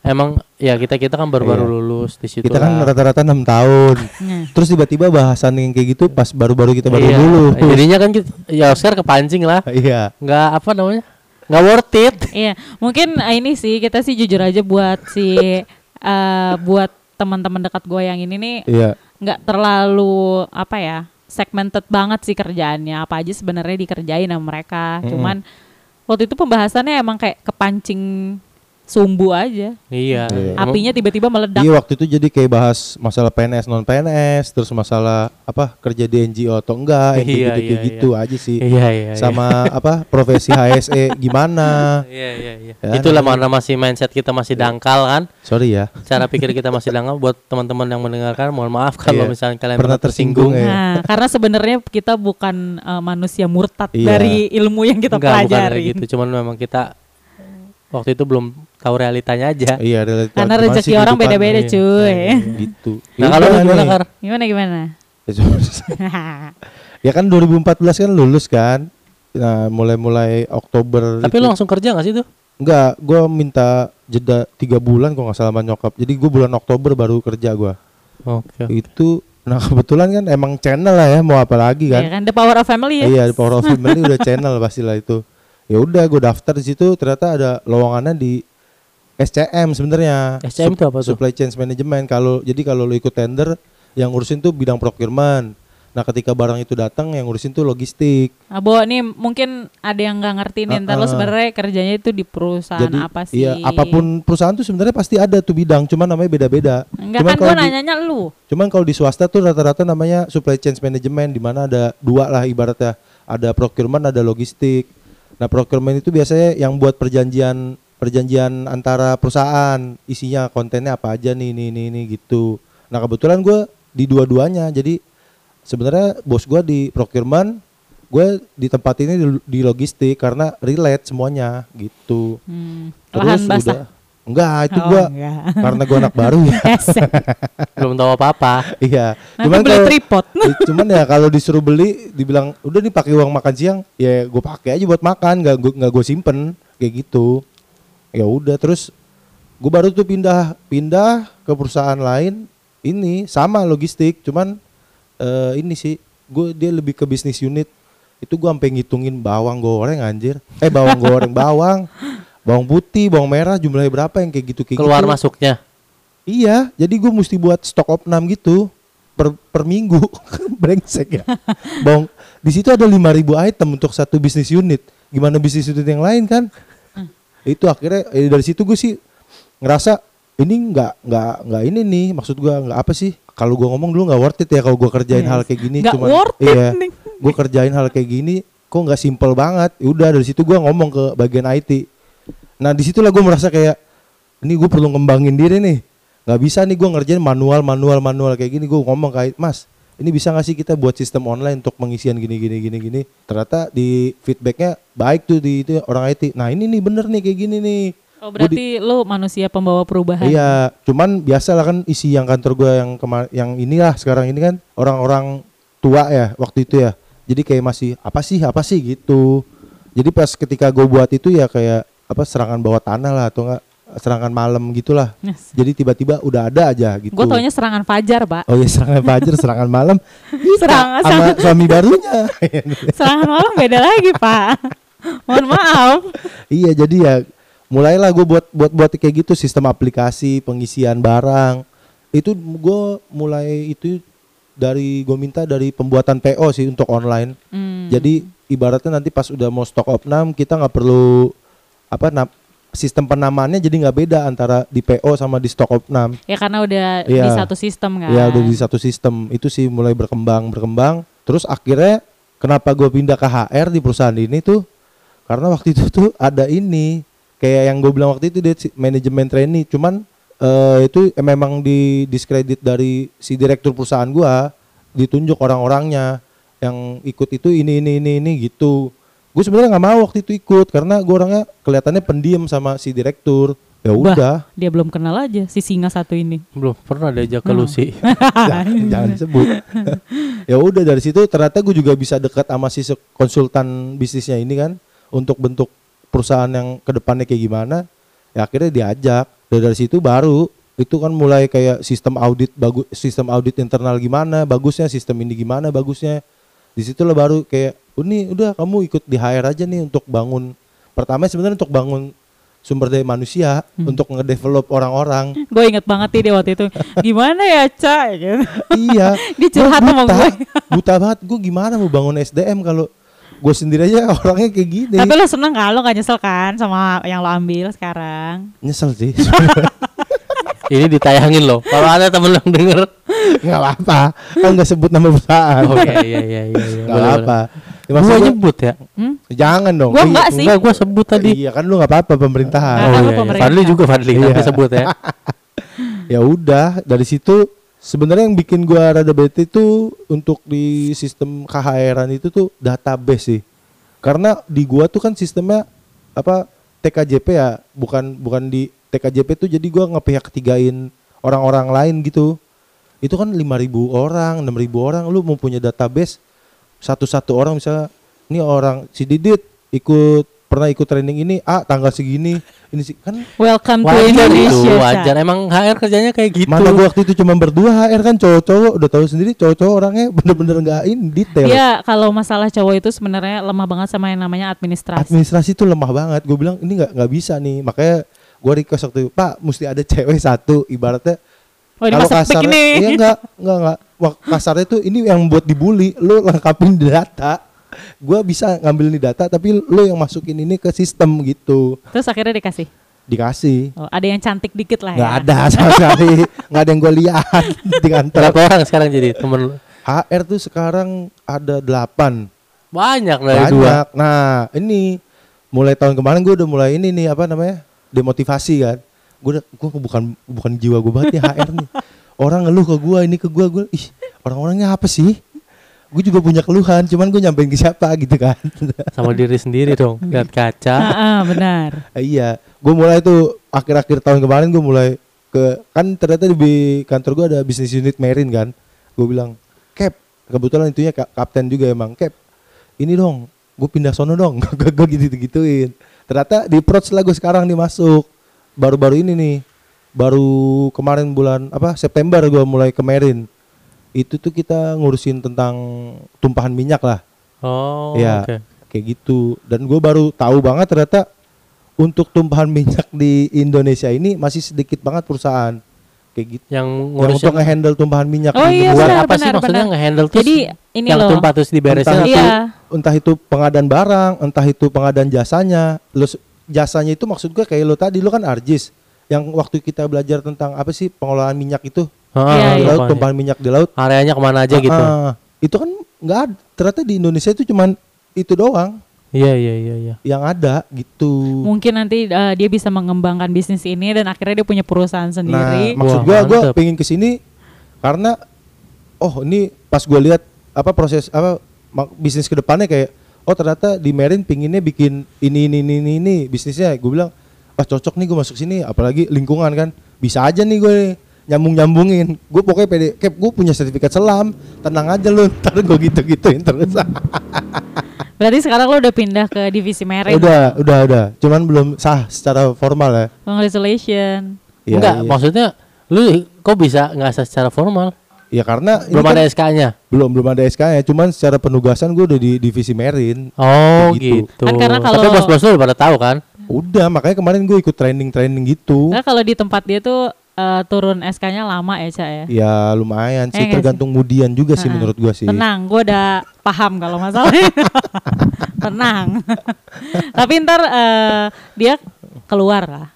Speaker 1: emang ya kita kita kan baru-baru
Speaker 2: Iya.
Speaker 1: lulus di situ.
Speaker 2: kita kan
Speaker 1: lah.
Speaker 2: rata-rata enam tahun.
Speaker 3: Nah,
Speaker 2: Terus tiba-tiba bahasan yang kayak gitu pas baru-baru kita baru
Speaker 1: Iya.
Speaker 2: lulus.
Speaker 1: Jadinya kan kita, ya Oscar kepancing lah.
Speaker 2: Iya.
Speaker 1: Nggak apa namanya? Nggak worth it.
Speaker 3: iya, mungkin eh, ini sih kita sih jujur aja buat si eh, buat teman-teman dekat gue yang ini nih
Speaker 2: Iya.
Speaker 3: nggak terlalu apa ya segmented banget sih kerjaannya apa aja sebenarnya dikerjain sama mereka cuman waktu itu pembahasannya emang kayak kepancing sumbu aja
Speaker 1: Iya.
Speaker 2: Iya.
Speaker 1: Emang-
Speaker 3: apinya tiba-tiba meledak
Speaker 2: Iya waktu itu jadi kayak bahas masalah PNS non PNS, terus masalah apa kerja di NGO atau enggak, yang kayak
Speaker 1: Iya,
Speaker 2: gitu kayak
Speaker 1: iya,
Speaker 2: gitu aja sih.
Speaker 1: Iya, iya.
Speaker 2: Sama apa profesi HSE gimana?
Speaker 1: Iya, iya, iya.
Speaker 2: Ya, Iya.
Speaker 1: Itulah mana masih mindset kita masih dangkal kan.
Speaker 2: Sorry ya.
Speaker 1: Cara pikir kita masih dangkal buat teman-teman yang mendengarkan mohon maaf kalau
Speaker 2: Iya.
Speaker 1: misalnya kalian
Speaker 2: Pernah tersinggung ya.
Speaker 3: Nah, karena sebenarnya kita bukan eh, manusia murtad
Speaker 2: Iya.
Speaker 3: dari ilmu yang kita
Speaker 1: Enggak, bukan kayak
Speaker 3: pelajari.
Speaker 1: gitu. Cuman memang kita waktu itu belum tahu realitanya aja.
Speaker 2: Iya, relatif-
Speaker 3: Karena
Speaker 2: gimana sih
Speaker 3: rezeki orang
Speaker 2: kehidupan?
Speaker 3: beda-beda,
Speaker 2: Iya.
Speaker 3: cuy.
Speaker 2: Gitu.
Speaker 1: Nah kalau lu gimana Kar?
Speaker 3: Gimana gimana?
Speaker 2: Kar? Eh, Ya Iya kan 2014 kan lulus kan. Nah, mulai-mulai Oktober
Speaker 1: Tapi
Speaker 2: itu.
Speaker 1: lu langsung kerja gak sih tuh?
Speaker 2: enggak, gua minta jeda tiga bulan kalau nggak salah sama nyokap. Jadi gua bulan Oktober baru kerja gua.
Speaker 1: Oke.
Speaker 2: Itu nah kebetulan kan emang channel lah ya, mau apa lagi
Speaker 1: Iya.
Speaker 3: Ya
Speaker 4: Iya
Speaker 2: kan?
Speaker 3: kan the power of family ya.
Speaker 2: Iya, di Power of Family udah channel pastilah itu. Ya udah gue daftar di situ ternyata ada lowongannya di SCM sebenarnya.
Speaker 1: SCM itu apa tuh?
Speaker 2: Supply Chain Management. Kalau jadi kalau lu ikut tender yang ngurusin tuh bidang procurement. Nah, ketika barang itu datang yang ngurusin tuh logistik.
Speaker 4: Abo Ah, nih mungkin ada yang nggak ngerti nih, ntar lo
Speaker 2: Ah, ah.
Speaker 4: sebenarnya kerjanya itu di perusahaan
Speaker 2: Jadi
Speaker 4: apa sih?
Speaker 2: iya, apapun perusahaan tuh sebenarnya pasti ada tuh bidang, cuman namanya beda-beda.
Speaker 4: Enggak
Speaker 2: Cuman
Speaker 4: kan
Speaker 2: kalau
Speaker 4: gue
Speaker 2: di-
Speaker 4: nanyanya lu.
Speaker 2: Cuman kalau di swasta tuh rata-rata namanya supply chain management di mana ada dua lah ibaratnya ada procurement ada logistik. Nah procurement itu biasanya yang buat perjanjian perjanjian antara perusahaan isinya kontennya apa aja nih ini ini ini gitu. Nah kebetulan gue di dua-duanya jadi sebenarnya bos gue di procurement gue di tempat ini di, di logistik karena relate semuanya gitu.
Speaker 4: Hmm,
Speaker 2: Terus
Speaker 4: lahan basah.
Speaker 2: udah- enggak itu
Speaker 4: Oh,
Speaker 2: gue
Speaker 4: enggak.
Speaker 2: karena gue anak baru ya.
Speaker 4: Esek.
Speaker 1: belum tahu apa apa
Speaker 2: Iya.
Speaker 4: Nanti beli
Speaker 2: kalau-
Speaker 4: tripod.
Speaker 2: Eh, cuman ya kalau disuruh beli dibilang udah nih pakai uang makan siang ya gue pakai aja buat makan nggak gue nggak gue simpen kayak gitu ya udah terus gue baru tuh pindah pindah ke perusahaan lain ini sama logistik cuman eh, ini sih gue dia lebih ke bisnis unit itu gue sampai ngitungin bawang goreng anjir eh bawang goreng bawang bawang putih bawang merah jumlahnya berapa yang kayak gitu kayak
Speaker 1: keluar
Speaker 2: gitu.
Speaker 1: masuknya
Speaker 2: Iya, jadi gue mesti buat stok opnam gitu per per minggu brengsek ya. Bong, di situ ada 5000 item untuk satu bisnis unit. Gimana bisnis unit yang lain kan? Itu akhirnya eh, dari situ gue sih ngerasa ini nggak nggak nggak ini nih maksud gue nggak apa sih kalau gue ngomong dulu nggak worth it ya kalau gue kerjain hal kayak gini
Speaker 4: Iya. Nggak
Speaker 2: cuman
Speaker 4: worth it
Speaker 2: iya
Speaker 4: nih.
Speaker 2: gue kerjain hal kayak gini kok nggak simple banget Ya udah dari situ gue ngomong ke bagian IT nah disitulah gue merasa kayak ini gue perlu ngembangin diri nih nggak bisa nih gue ngerjain manual manual manual kayak gini gue ngomong kayak mas ini bisa nggak sih kita buat sistem online untuk pengisian gini gini gini gini ternyata di feedbacknya baik tuh di itu orang IT nah ini nih bener nih kayak gini nih
Speaker 4: Oh
Speaker 2: Gua di-
Speaker 4: berarti lu manusia pembawa perubahan.
Speaker 2: Iya, cuman biasa lah kan isi yang kantor gua yang kemar yang inilah sekarang ini kan orang-orang tua ya waktu itu ya. Jadi kayak masih apa sih apa sih gitu. Jadi pas ketika gue buat itu ya kayak apa serangan bawah tanah lah atau enggak serangan malam gitulah.
Speaker 4: Yes.
Speaker 2: Jadi tiba-tiba udah ada aja gitu.
Speaker 4: Gue taunya serangan fajar, Pak.
Speaker 2: Oh ya serangan fajar, serangan malam
Speaker 4: serangan
Speaker 2: sama suami barunya.
Speaker 4: serangan malam beda lagi, Pak. Mohon maaf.
Speaker 2: Iya jadi ya mulailah gue buat buat buat kayak gitu sistem aplikasi pengisian barang itu gue mulai itu dari gue minta dari pembuatan PO sih untuk online
Speaker 4: Hmm.
Speaker 2: jadi ibaratnya nanti pas udah mau stok opnam kita nggak perlu apa na- sistem penamaannya jadi nggak beda antara di PO sama di stok opnam
Speaker 4: Ya karena udah di
Speaker 2: Iya.
Speaker 4: satu sistem kan.
Speaker 2: ya udah di satu sistem itu sih mulai berkembang berkembang terus akhirnya kenapa gue pindah ke HR di perusahaan ini tuh karena waktu itu tuh ada ini kayak yang gue bilang waktu itu dia si- manajemen trainee cuman eh, itu memang di diskredit dari si direktur perusahaan gue ditunjuk orang-orangnya yang ikut itu ini ini ini ini gitu gue sebenarnya nggak mau waktu itu ikut karena gue orangnya kelihatannya pendiam sama si direktur ya
Speaker 4: Bah.
Speaker 2: udah
Speaker 4: Dia belum kenal aja si singa satu ini.
Speaker 1: belum pernah diajak ke Lucy
Speaker 2: jangan, jangan disebut. ya udah dari situ ternyata gue juga bisa dekat sama si se- konsultan bisnisnya ini kan untuk bentuk perusahaan yang kedepannya kayak gimana. Ya akhirnya diajak. Dan dari situ baru itu kan mulai kayak sistem audit bagus, sistem audit internal gimana, bagusnya sistem ini gimana, bagusnya. Di situ lah baru kayak, "Oh, ini udah kamu ikut di HR aja nih untuk bangun. Pertama sebenarnya untuk bangun sumber daya manusia untuk ngedevelop orang-orang.
Speaker 4: Gue inget banget nih dia waktu itu. Gimana ya, Ca? Gitu.
Speaker 2: iya.
Speaker 4: Dia curhat
Speaker 2: Gua
Speaker 4: sama
Speaker 2: buta,
Speaker 4: gue.
Speaker 2: Buta banget. Gue gimana mau bangun SDM kalau gue sendiri aja orangnya kayak gini.
Speaker 4: Tapi lo seneng kan? Lo gak nyesel kan sama yang lo ambil sekarang?
Speaker 2: Nyesel sih.
Speaker 1: ini ditayangin loh kalau ada temen lo yang denger
Speaker 2: Nggak apa-apa. Kan nggak sebut nama perusahaan.
Speaker 1: oh iya iya iya iya, iya.
Speaker 2: Nggak
Speaker 1: Boleh,
Speaker 2: apa. Ya,
Speaker 1: boleh.
Speaker 2: maksud
Speaker 1: gua
Speaker 2: gua-
Speaker 1: nyebut ya
Speaker 4: Hmm?
Speaker 2: jangan dong.
Speaker 4: Gua
Speaker 2: Iya,
Speaker 4: nggak sih. Ah.
Speaker 1: enggak gua sebut tadi
Speaker 2: Iya kan lu nggak apa-apa pemerintahan.
Speaker 4: Nggak. Karena lu pemerintah.
Speaker 1: Oh, iya, Fadli juga Fadli
Speaker 2: Iya.
Speaker 1: tapi sebut ya
Speaker 2: ya udah dari situ sebenarnya yang bikin gua rada bete itu untuk di sistem KHR-an itu tuh database sih karena di gua tuh kan sistemnya apa TKJP ya bukan bukan di TKJP tuh jadi gua ngepihak ketigain orang-orang lain gitu itu kan 5000 orang 6000 orang lu mau punya database satu-satu orang misalnya ini orang si Didit ikut pernah ikut training ini ah tanggal segini ini sih kan
Speaker 4: Welcome to
Speaker 1: wajar itu
Speaker 4: Indonesia. Ca.
Speaker 1: wajar emang HR kerjanya kayak gitu
Speaker 2: Mana gua waktu itu cuma berdua HR kan cowok-cowok udah tahu sendiri cowok-cowok orangnya bener-bener nggak ini detail.
Speaker 4: Iya, kalau masalah cowok itu sebenarnya lemah banget sama yang namanya administrasi.
Speaker 2: Administrasi tuh lemah banget. Gue bilang ini nggak nggak bisa nih. Makanya gua request waktu itu, Pak mesti ada cewek satu ibaratnya
Speaker 3: Oh, ini masak baik ini.
Speaker 2: iya enggak, enggak, enggak. Wah, kasarnya tuh ini yang buat dibully, lu lengkapin data. Gua bisa ngambil nih data tapi lu yang masukin ini ke sistem gitu.
Speaker 3: Terus akhirnya dikasih.
Speaker 2: Dikasih.
Speaker 3: Oh, ada yang cantik dikit lah
Speaker 2: Enggak
Speaker 3: ya.
Speaker 2: ada sama sekali, enggak ada yang gua lihat di kantor.
Speaker 1: Berapa orang sekarang jadi temen lu?
Speaker 2: HR tuh sekarang ada 8.
Speaker 1: Banyak dari dua.
Speaker 2: Banyak. Nah, ini mulai tahun kemarin gue udah mulai ini nih apa namanya? demotivasi kan. Gue gue bukan bukan jiwa gue banget nih HR nih. Orang ngeluh ke gue, ini ke gue, gue ih, orang-orangnya apa sih? Gue juga punya keluhan, cuman gue nyampein ke siapa gitu kan.
Speaker 1: Sama diri sendiri dong. Lihat kaca.
Speaker 3: Ah, ah, benar.
Speaker 2: iya, gue mulai tuh akhir-akhir tahun kemarin gue mulai ke kan ternyata di kantor gue ada bisnis unit marine kan. Gue bilang, "Cap, kebetulan itunya ka- kapten juga emang, Cap. Ini dong, gue pindah sono dong." gue gitu-gituin. Ternyata di approach lah gue sekarang nih masuk. Baru-baru ini nih. Baru kemarin bulan apa September gue mulai ke marine. Itu tuh kita ngurusin tentang tumpahan minyak lah
Speaker 1: Oh,
Speaker 2: ya
Speaker 1: oke.
Speaker 2: kayak gitu dan gue baru tahu banget ternyata untuk tumpahan minyak di Indonesia ini masih sedikit banget perusahaan kayak gitu
Speaker 1: Yang
Speaker 2: yang
Speaker 1: ngurusin
Speaker 2: untuk ngehandle tumpahan minyak
Speaker 3: Oh
Speaker 2: di
Speaker 3: iya,
Speaker 1: buat
Speaker 2: luar.
Speaker 3: benar,
Speaker 1: apa sih
Speaker 3: benar,
Speaker 1: maksudnya
Speaker 3: benar.
Speaker 1: ngehandle terus
Speaker 3: Jadi ini
Speaker 1: yang
Speaker 3: loh.
Speaker 1: tumpah terus diberesin
Speaker 2: Entah
Speaker 1: atau-
Speaker 3: Iya.
Speaker 2: entah itu pengadaan barang entah itu pengadaan jasanya lo jasanya itu maksud gue kayak lo tadi lo kan Arjis yang waktu kita belajar tentang apa sih pengelolaan minyak itu
Speaker 1: Heeh,
Speaker 3: Iya,
Speaker 2: di
Speaker 3: iya.
Speaker 2: laut
Speaker 1: pokoknya.
Speaker 2: tumpahan minyak di laut
Speaker 1: areanya kemana aja gitu.
Speaker 2: Ah, itu kan nggak ada. ternyata di Indonesia itu cuman itu doang
Speaker 1: Iya iya iya iya.
Speaker 2: yang ada gitu
Speaker 3: Mungkin nanti eh, dia bisa mengembangkan bisnis ini dan akhirnya dia punya perusahaan sendiri.
Speaker 2: Nah, maksud
Speaker 1: Wah,
Speaker 2: gua gua
Speaker 1: mantep.
Speaker 2: pengen ke sini karena oh, ini pas gua lihat apa proses apa ma- bisnis ke depannya kayak oh ternyata di Merin pinginnya bikin ini ini ini ini, ini bisnisnya. Gua bilang, "Wah, cocok nih gua masuk sini, apalagi lingkungan kan. Bisa aja nih gue nyambung-nyambungin. Gue pokoknya pede, Cap, gue punya sertifikat selam. Tenang aja lu, ntar gue gitu-gituin terus.
Speaker 3: Berarti sekarang lo udah pindah ke divisi ya, merek.
Speaker 2: udah, udah, udah. Cuman belum sah secara formal ya.
Speaker 3: Congratulations.
Speaker 2: Iya,
Speaker 1: Enggak,
Speaker 2: iya.
Speaker 1: maksudnya lu kok bisa nggak asal secara formal?
Speaker 2: Ya karena ini
Speaker 1: Belum
Speaker 2: kan-
Speaker 1: ada SK-nya.
Speaker 2: belum belum ada SK ya. Cuman secara penugasan gue udah di divisi Merin.
Speaker 3: Hmm.
Speaker 1: Oh
Speaker 2: Begitu.
Speaker 1: gitu.
Speaker 3: Kan karena
Speaker 1: Tapi
Speaker 3: kalau-
Speaker 1: bos-bos lu udah pada tahu kan?
Speaker 2: Udah, makanya kemarin gue ikut training-training gitu.
Speaker 3: Nah, kalau di tempat dia tuh eh, turun SK-nya lama ya, Cak ya.
Speaker 2: Ya lumayan sih,
Speaker 3: Eh, nggak sih?
Speaker 2: tergantung mudian juga sih
Speaker 3: Ha-ha.
Speaker 2: menurut gue sih.
Speaker 3: Tenang, gue udah paham kalau masalah itu. Tenang. Tapi ntar eh, dia keluar lah.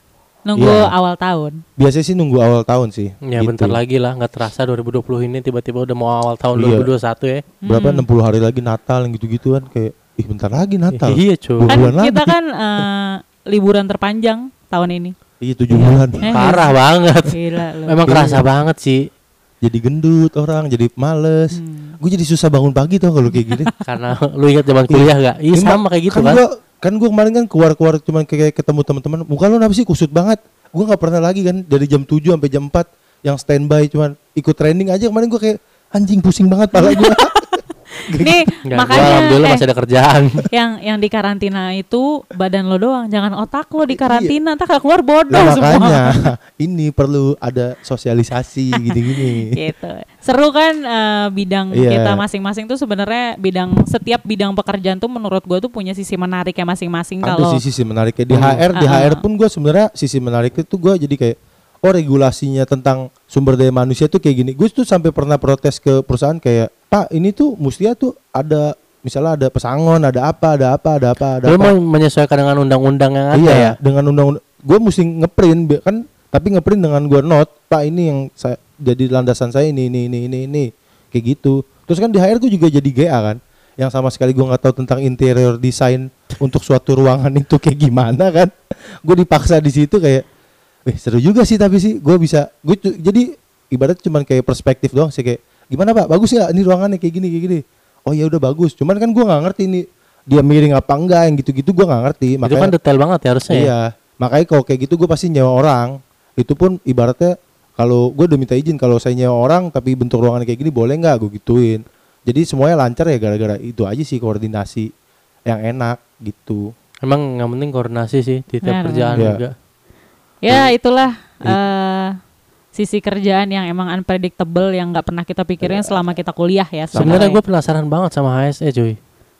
Speaker 3: Nunggu
Speaker 2: Iya.
Speaker 3: awal tahun.
Speaker 2: Biasanya sih nunggu awal tahun sih.
Speaker 1: Ya
Speaker 2: gitu.
Speaker 1: bentar lagi lah, nggak terasa 2020 ini tiba-tiba udah mau awal tahun
Speaker 2: Iya.
Speaker 1: 2021
Speaker 3: Eh.
Speaker 1: ya.
Speaker 3: Hmm.
Speaker 2: Berapa 60 hari lagi Natal yang gitu-gitu kan kayak ih bentar lagi Natal.
Speaker 1: Iya cuy.
Speaker 2: Dua
Speaker 3: Kan
Speaker 2: bulan
Speaker 3: kita
Speaker 2: lagi.
Speaker 3: kan eh, liburan terpanjang tahun ini.
Speaker 2: Iya 7 bulan.
Speaker 3: Eh.
Speaker 1: Parah banget.
Speaker 3: Gila lu.
Speaker 2: Iya.
Speaker 1: Memang kerasa banget sih
Speaker 2: Jadi gendut orang, jadi males.
Speaker 3: Hmm.
Speaker 2: Gue jadi susah bangun pagi tau kalau kayak gini.
Speaker 1: karena lu ingat zaman kuliah gak? Iya
Speaker 2: Ini mah-
Speaker 1: sama kayak gitu kan.
Speaker 2: Gua, kan gue kemarin kan keluar-keluar cuman kayak ketemu teman-teman. Muka lu kenapa sih kusut banget? Gue nggak pernah lagi kan dari jam 7 sampai jam 4 yang standby cuman ikut training aja kemarin gue kayak anjing pusing banget pala gue.
Speaker 3: Nih,
Speaker 1: Nggak, gua
Speaker 3: makanya
Speaker 1: alhamdulillah
Speaker 3: eh,
Speaker 1: masih ada kerjaan.
Speaker 3: yang yang di karantina itu badan lo doang, jangan otak lo di karantina, entar nggak keluar
Speaker 1: Oh,
Speaker 3: bodoh
Speaker 2: iya.
Speaker 3: semua.
Speaker 2: Nah, makanya ini perlu ada sosialisasi gini-gini.
Speaker 3: gitu. Seru kan eh, bidang
Speaker 2: Iya.
Speaker 3: kita masing-masing tuh sebenarnya bidang setiap bidang pekerjaan tuh menurut gua tuh punya sisi menariknya masing-masing
Speaker 2: Ada
Speaker 3: kalau
Speaker 2: sisi menariknya di HR, di
Speaker 3: Ah, ah.
Speaker 2: HR pun gue sebenarnya sisi menariknya tuh gue jadi kayak oh regulasinya tentang sumber daya manusia tuh kayak gini. Gue tuh sampai pernah protes ke perusahaan kayak Pak ini tuh mestinya tuh ada misalnya ada pesangon, ada apa, ada apa, ada apa, ada
Speaker 1: Lu
Speaker 2: apa.
Speaker 1: mau menyesuaikan dengan undang-undang yang ada
Speaker 2: iya,
Speaker 1: ya?
Speaker 2: dengan undang-undang. Gue mesti ngeprint bi- kan, tapi ngeprint dengan gue note, Pak ini yang saya jadi landasan saya ini ini ini ini ini kayak gitu. Terus kan di HR gue juga jadi GA kan, yang sama sekali gue nggak tahu tentang interior design untuk suatu ruangan itu kayak gimana kan. Gue dipaksa di situ kayak, eh seru juga sih tapi sih gue bisa gue jadi ibarat cuman kayak perspektif doang sih kayak gimana pak bagus nggak ini ruangannya kayak gini kayak gini oh ya udah bagus cuman kan gue nggak ngerti ini dia miring apa enggak yang gitu-gitu gue nggak ngerti
Speaker 1: Itu kan detail banget ya harusnya. ya?
Speaker 2: Iya, makanya kalau kayak gitu gue pasti nyewa orang. Itu pun ibaratnya kalau gue udah minta izin kalau saya nyewa orang tapi bentuk ruangan kayak gini boleh nggak gue gituin. Jadi semuanya lancar ya gara-gara itu aja sih koordinasi yang enak gitu.
Speaker 1: Emang yang penting koordinasi sih di tiap
Speaker 3: Benar, Iya.
Speaker 1: kerjaan
Speaker 2: benar.
Speaker 1: juga.
Speaker 3: ya itulah eh, sisi kerjaan yang emang unpredictable yang nggak pernah kita pikirin
Speaker 2: Iya.
Speaker 3: selama kita kuliah ya.
Speaker 1: Sebenarnya gue penasaran banget sama HSE cuy.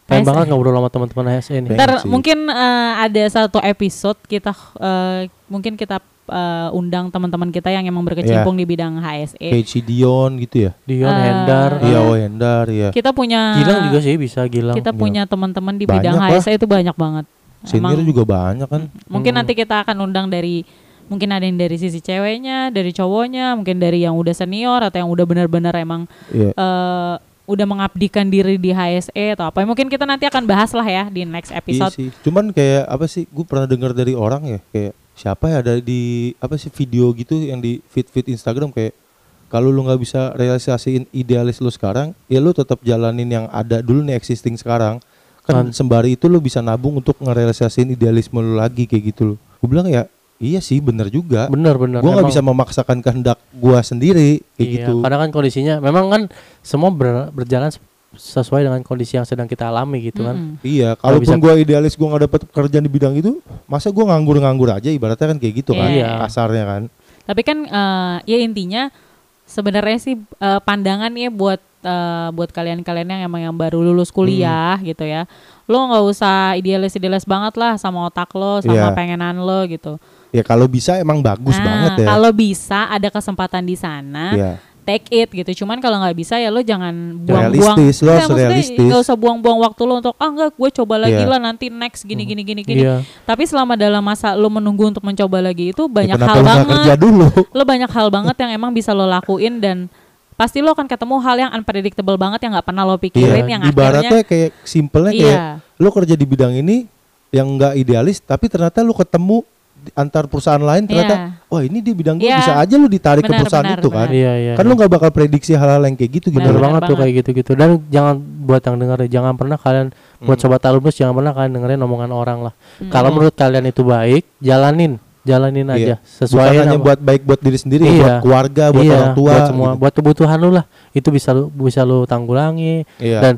Speaker 1: Pengen
Speaker 3: HSE.
Speaker 1: banget ngobrol sama teman-teman HSE nih.
Speaker 2: Pengen
Speaker 3: Ntar
Speaker 2: sih.
Speaker 3: mungkin eh, ada satu episode kita eh, mungkin kita eh, undang teman-teman kita yang emang berkecimpung
Speaker 2: Iya.
Speaker 3: di bidang E. HSE.
Speaker 2: Kayak Cidion gitu ya.
Speaker 1: Dion
Speaker 3: Eh,
Speaker 1: Hendar
Speaker 2: Iya, oh Hendar ya.
Speaker 3: Kita punya
Speaker 1: Gilang juga sih bisa Gilang
Speaker 3: kita
Speaker 2: Gilang.
Speaker 3: punya teman-teman di
Speaker 2: Banyak
Speaker 3: bidang
Speaker 2: lah.
Speaker 3: HSE itu banyak banget.
Speaker 2: Senior juga banyak kan.
Speaker 3: Mungkin
Speaker 1: Hmm.
Speaker 3: nanti kita akan undang dari mungkin ada yang dari sisi ceweknya, dari cowoknya, mungkin dari yang udah senior atau yang udah benar-benar emang
Speaker 2: Iya.
Speaker 3: eh, udah mengabdikan diri di HSE atau apa. Mungkin kita nanti akan bahas lah ya di next
Speaker 2: Iya
Speaker 3: episode.
Speaker 2: sih. Cuman kayak apa sih? Gue pernah dengar dari orang ya kayak siapa ya ada di apa sih video gitu yang di feed feed Instagram kayak kalau lu nggak bisa realisasiin idealis lu sekarang, ya lu tetap jalanin yang ada dulu nih existing sekarang.
Speaker 1: Kan.
Speaker 2: Kan sembari itu lu bisa nabung untuk ngerealisasiin idealisme lu lagi kayak gitu loh. Gue bilang ya, iya sih bener juga.
Speaker 1: bener bener
Speaker 2: Gue nggak
Speaker 1: Emang-
Speaker 2: bisa memaksakan kehendak gua sendiri kayak
Speaker 1: Iya,
Speaker 2: gitu.
Speaker 1: karena kan kondisinya memang kan semua ber- berjalan se- sesuai dengan kondisi yang sedang kita alami gitu kan.
Speaker 3: Mm-mm.
Speaker 2: Iya, kalaupun
Speaker 1: bisa-
Speaker 2: gua idealis gua nggak dapat pekerjaan di bidang itu, masa gua nganggur-nganggur aja ibaratnya kan kayak gitu kan
Speaker 1: Iya.
Speaker 2: kasarnya kan.
Speaker 3: Tapi kan eh, ya intinya sebenarnya sih eh, pandangan ya buat eh, buat kalian-kalian yang emang yang baru lulus
Speaker 2: Hmm.
Speaker 3: kuliah gitu ya. Lo nggak usah idealis-idealis banget lah sama otak lo, sama
Speaker 2: Iya.
Speaker 3: pengenan lo gitu.
Speaker 2: Ya kalau bisa emang bagus
Speaker 3: Nah,
Speaker 2: banget ya.
Speaker 3: Kalau bisa ada kesempatan di sana,
Speaker 2: Iya.
Speaker 3: take it gitu. Cuman kalau nggak bisa ya lo jangan buang-buang
Speaker 2: Realistis, lo
Speaker 3: Nggak,
Speaker 2: harus
Speaker 3: maksudnya
Speaker 2: realistis.
Speaker 3: nggak usah buang-buang waktu lo untuk ah enggak gue coba lagi
Speaker 2: Iya.
Speaker 3: lah nanti next gini gini gini gini.
Speaker 1: Iya.
Speaker 3: Tapi selama dalam masa lo menunggu untuk mencoba lagi itu
Speaker 2: Ya,
Speaker 3: banyak
Speaker 2: kenapa
Speaker 3: hal
Speaker 2: lu nggak
Speaker 3: banget
Speaker 2: kerja dulu?
Speaker 3: lo banyak hal banget yang emang bisa lo lakuin dan pasti lo akan ketemu hal yang unpredictable banget yang nggak pernah lo pikirin yang
Speaker 2: Iya, Ibaratnya
Speaker 3: akhirnya
Speaker 2: kayak simpelnya kayak
Speaker 3: iya
Speaker 2: lu kerja di bidang ini yang nggak idealis, tapi ternyata lu ketemu di- antar perusahaan lain ternyata wah ini di bidang gua
Speaker 3: Iya.
Speaker 2: bisa aja lu ditarik ke
Speaker 3: Benar,
Speaker 2: perusahaan
Speaker 3: benar,
Speaker 2: itu kan.
Speaker 3: benar.
Speaker 1: Iya, iya.
Speaker 2: Kan lu nggak bakal prediksi hal-hal yang kayak gitu gitu.
Speaker 1: bener
Speaker 3: Benar
Speaker 2: loh.
Speaker 1: banget tuh
Speaker 3: banget.
Speaker 1: kayak gitu-gitu. Dan jangan buat yang dengar ya, jangan pernah kalian
Speaker 2: Mm.
Speaker 1: buat sobat alumnus jangan pernah kalian dengerin omongan orang lah.
Speaker 3: Mm.
Speaker 1: Kalau menurut kalian itu baik, jalanin, jalanin aja
Speaker 2: Iya.
Speaker 1: sesuai
Speaker 2: Bukan hanya
Speaker 1: sama-
Speaker 2: buat baik buat diri sendiri, ya,
Speaker 1: Iya.
Speaker 2: buat keluarga, buat
Speaker 1: Iya,
Speaker 2: orang tua, gitu.
Speaker 1: buat semua, buat kebutuhan lu lah. Itu bisa lu bisa lu tanggulangi
Speaker 2: Iya.
Speaker 1: dan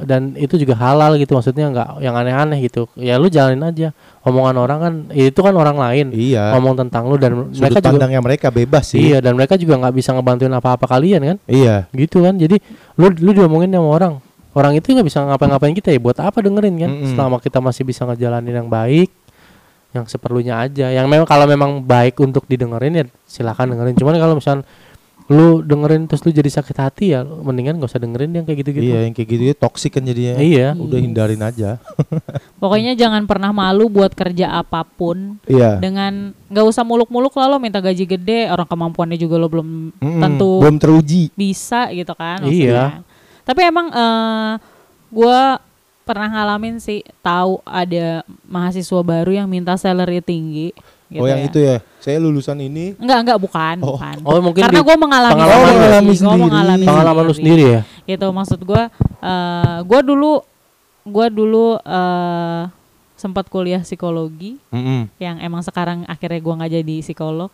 Speaker 1: dan itu juga halal gitu maksudnya nggak yang aneh-aneh gitu. Ya lu jalanin aja. Omongan orang kan itu kan orang lain.
Speaker 2: Iya.
Speaker 1: ngomong tentang lu dan
Speaker 2: Sudut
Speaker 1: mereka juga
Speaker 2: pandangnya mereka bebas sih.
Speaker 1: iya dan mereka juga nggak bisa ngebantuin apa-apa kalian kan
Speaker 2: Iya.
Speaker 1: gitu kan jadi lu lu diomongin sama orang orang itu nggak bisa ngapa-ngapain kita ya buat apa dengerin kan
Speaker 2: Mm-mm.
Speaker 1: selama kita masih bisa ngejalanin yang baik yang seperlunya aja yang memang kalau memang baik untuk didengerin ya silakan dengerin cuman kalau misalnya lu dengerin terus lu jadi sakit hati ya mendingan gak usah dengerin yang kayak
Speaker 2: Iya,
Speaker 1: gitu-gitu
Speaker 2: yang kayak gitu ya toksik kan jadinya.
Speaker 1: iya
Speaker 2: Udah hindarin aja.
Speaker 3: pokoknya jangan pernah malu buat kerja apapun
Speaker 2: Iya.
Speaker 3: dengan nggak usah muluk-muluk lah lo minta gaji gede orang kemampuannya juga lo belum
Speaker 2: Mm-mm,
Speaker 3: tentu
Speaker 2: belum teruji.
Speaker 3: bisa gitu
Speaker 1: Iya.
Speaker 3: kan maksudnya. tapi emang eh gue pernah ngalamin sih tahu ada mahasiswa baru yang minta salary tinggi
Speaker 2: oh,
Speaker 3: gitu
Speaker 2: yang
Speaker 3: ya.
Speaker 2: itu ya. Saya lulusan ini.
Speaker 3: Enggak, enggak bukan,
Speaker 2: Oh.
Speaker 3: bukan.
Speaker 1: Oh, mungkin
Speaker 3: Karena
Speaker 1: di-
Speaker 3: gue mengalami
Speaker 1: pengalaman
Speaker 3: sendiri,
Speaker 2: lu.
Speaker 3: gua
Speaker 2: Sendiri.
Speaker 3: mengalami
Speaker 1: pengalaman lu sendiri ya
Speaker 3: Gitu maksud gue, eh gue dulu, gue dulu eh sempat kuliah psikologi, yang emang sekarang akhirnya gue nggak jadi psikolog.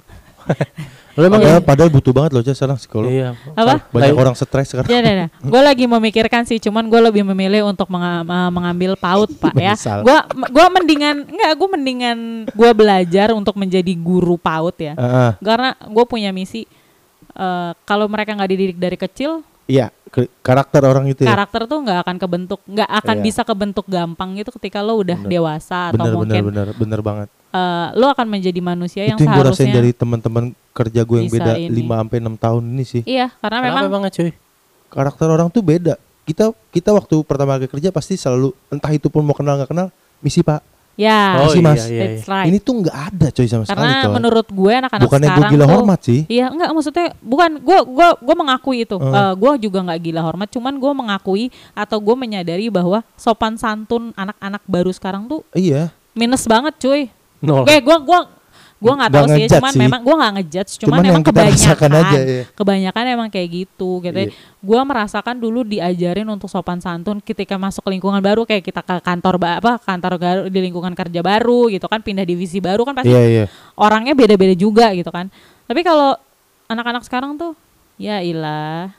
Speaker 1: lu emang ya?
Speaker 2: Padahal,
Speaker 3: ya.
Speaker 2: padahal butuh banget loh Jas, sekarang psikolog.
Speaker 1: iya
Speaker 3: Apa?
Speaker 1: Baik.
Speaker 2: Banyak orang stres sekarang.
Speaker 3: Ya, ya, Gue lagi memikirkan sih, cuman gue lebih memilih untuk menga- eh, mengambil paut, pak ya.
Speaker 2: Menyesal.
Speaker 3: Gue, gue mendingan, enggak, gue mendingan gue belajar untuk menjadi guru paut ya.
Speaker 2: Heeh.
Speaker 3: Karena gue punya misi, eh kalau mereka nggak dididik dari kecil,
Speaker 2: Iya, ke- karakter orang itu ya.
Speaker 3: karakter tuh nggak akan kebentuk nggak akan
Speaker 2: Iya.
Speaker 3: bisa kebentuk gampang gitu ketika lo udah
Speaker 2: Bener.
Speaker 3: dewasa
Speaker 2: Bener,
Speaker 3: atau
Speaker 2: bener,
Speaker 3: mungkin
Speaker 2: bener, bener banget.
Speaker 3: eh, lo akan menjadi manusia yang
Speaker 2: itu yang gue rasain
Speaker 3: seharusnya
Speaker 2: dari teman-teman kerja gue yang
Speaker 3: bisa
Speaker 2: beda
Speaker 3: ini.
Speaker 2: 5 sampai 6 tahun ini sih.
Speaker 3: iya karena
Speaker 1: Kenapa
Speaker 3: memang
Speaker 1: emangnya, cuy
Speaker 2: Karakter orang tuh beda. Kita kita waktu pertama kali kerja pasti selalu entah itu pun mau kenal nggak kenal, misi Pak.
Speaker 3: ya
Speaker 1: oh
Speaker 2: Masih,
Speaker 1: iya,
Speaker 2: Mas.
Speaker 1: iya, iya.
Speaker 3: that's right
Speaker 2: Ini tuh nggak ada coy sama sekali
Speaker 3: karena
Speaker 2: coy.
Speaker 3: menurut gue anak-anak
Speaker 2: Bukannya gue
Speaker 3: sekarang
Speaker 2: gila
Speaker 3: tuh-
Speaker 2: hormat sih.
Speaker 3: Iya, enggak maksudnya bukan gua gua gua mengakui itu.
Speaker 2: Heeh.
Speaker 3: Eh, gua juga nggak gila hormat, cuman gua mengakui atau gua menyadari bahwa sopan santun anak-anak baru sekarang tuh
Speaker 2: Iya.
Speaker 3: minus banget, cuy.
Speaker 1: nol
Speaker 3: Oke, gua gua gua nggak
Speaker 2: Oh. Nggak
Speaker 3: tahu sih, ya,
Speaker 2: ngejudge
Speaker 3: cuman
Speaker 2: sih.
Speaker 3: memang gua nggak ngejudge, cuman,
Speaker 2: Cuman yang
Speaker 3: emang
Speaker 2: kita rasakan
Speaker 3: kebanyakan
Speaker 2: aja, iya.
Speaker 3: kebanyakan emang kayak gitu gitu. ya.
Speaker 2: Iya.
Speaker 3: Gua merasakan dulu diajarin untuk sopan santun ketika masuk ke lingkungan baru kayak kita ke kantor ba- apa kantor baru di lingkungan kerja baru gitu kan pindah divisi baru kan pasti
Speaker 2: Iya, iya.
Speaker 3: orangnya beda-beda juga gitu kan. Tapi kalau anak-anak sekarang tuh ya ilah.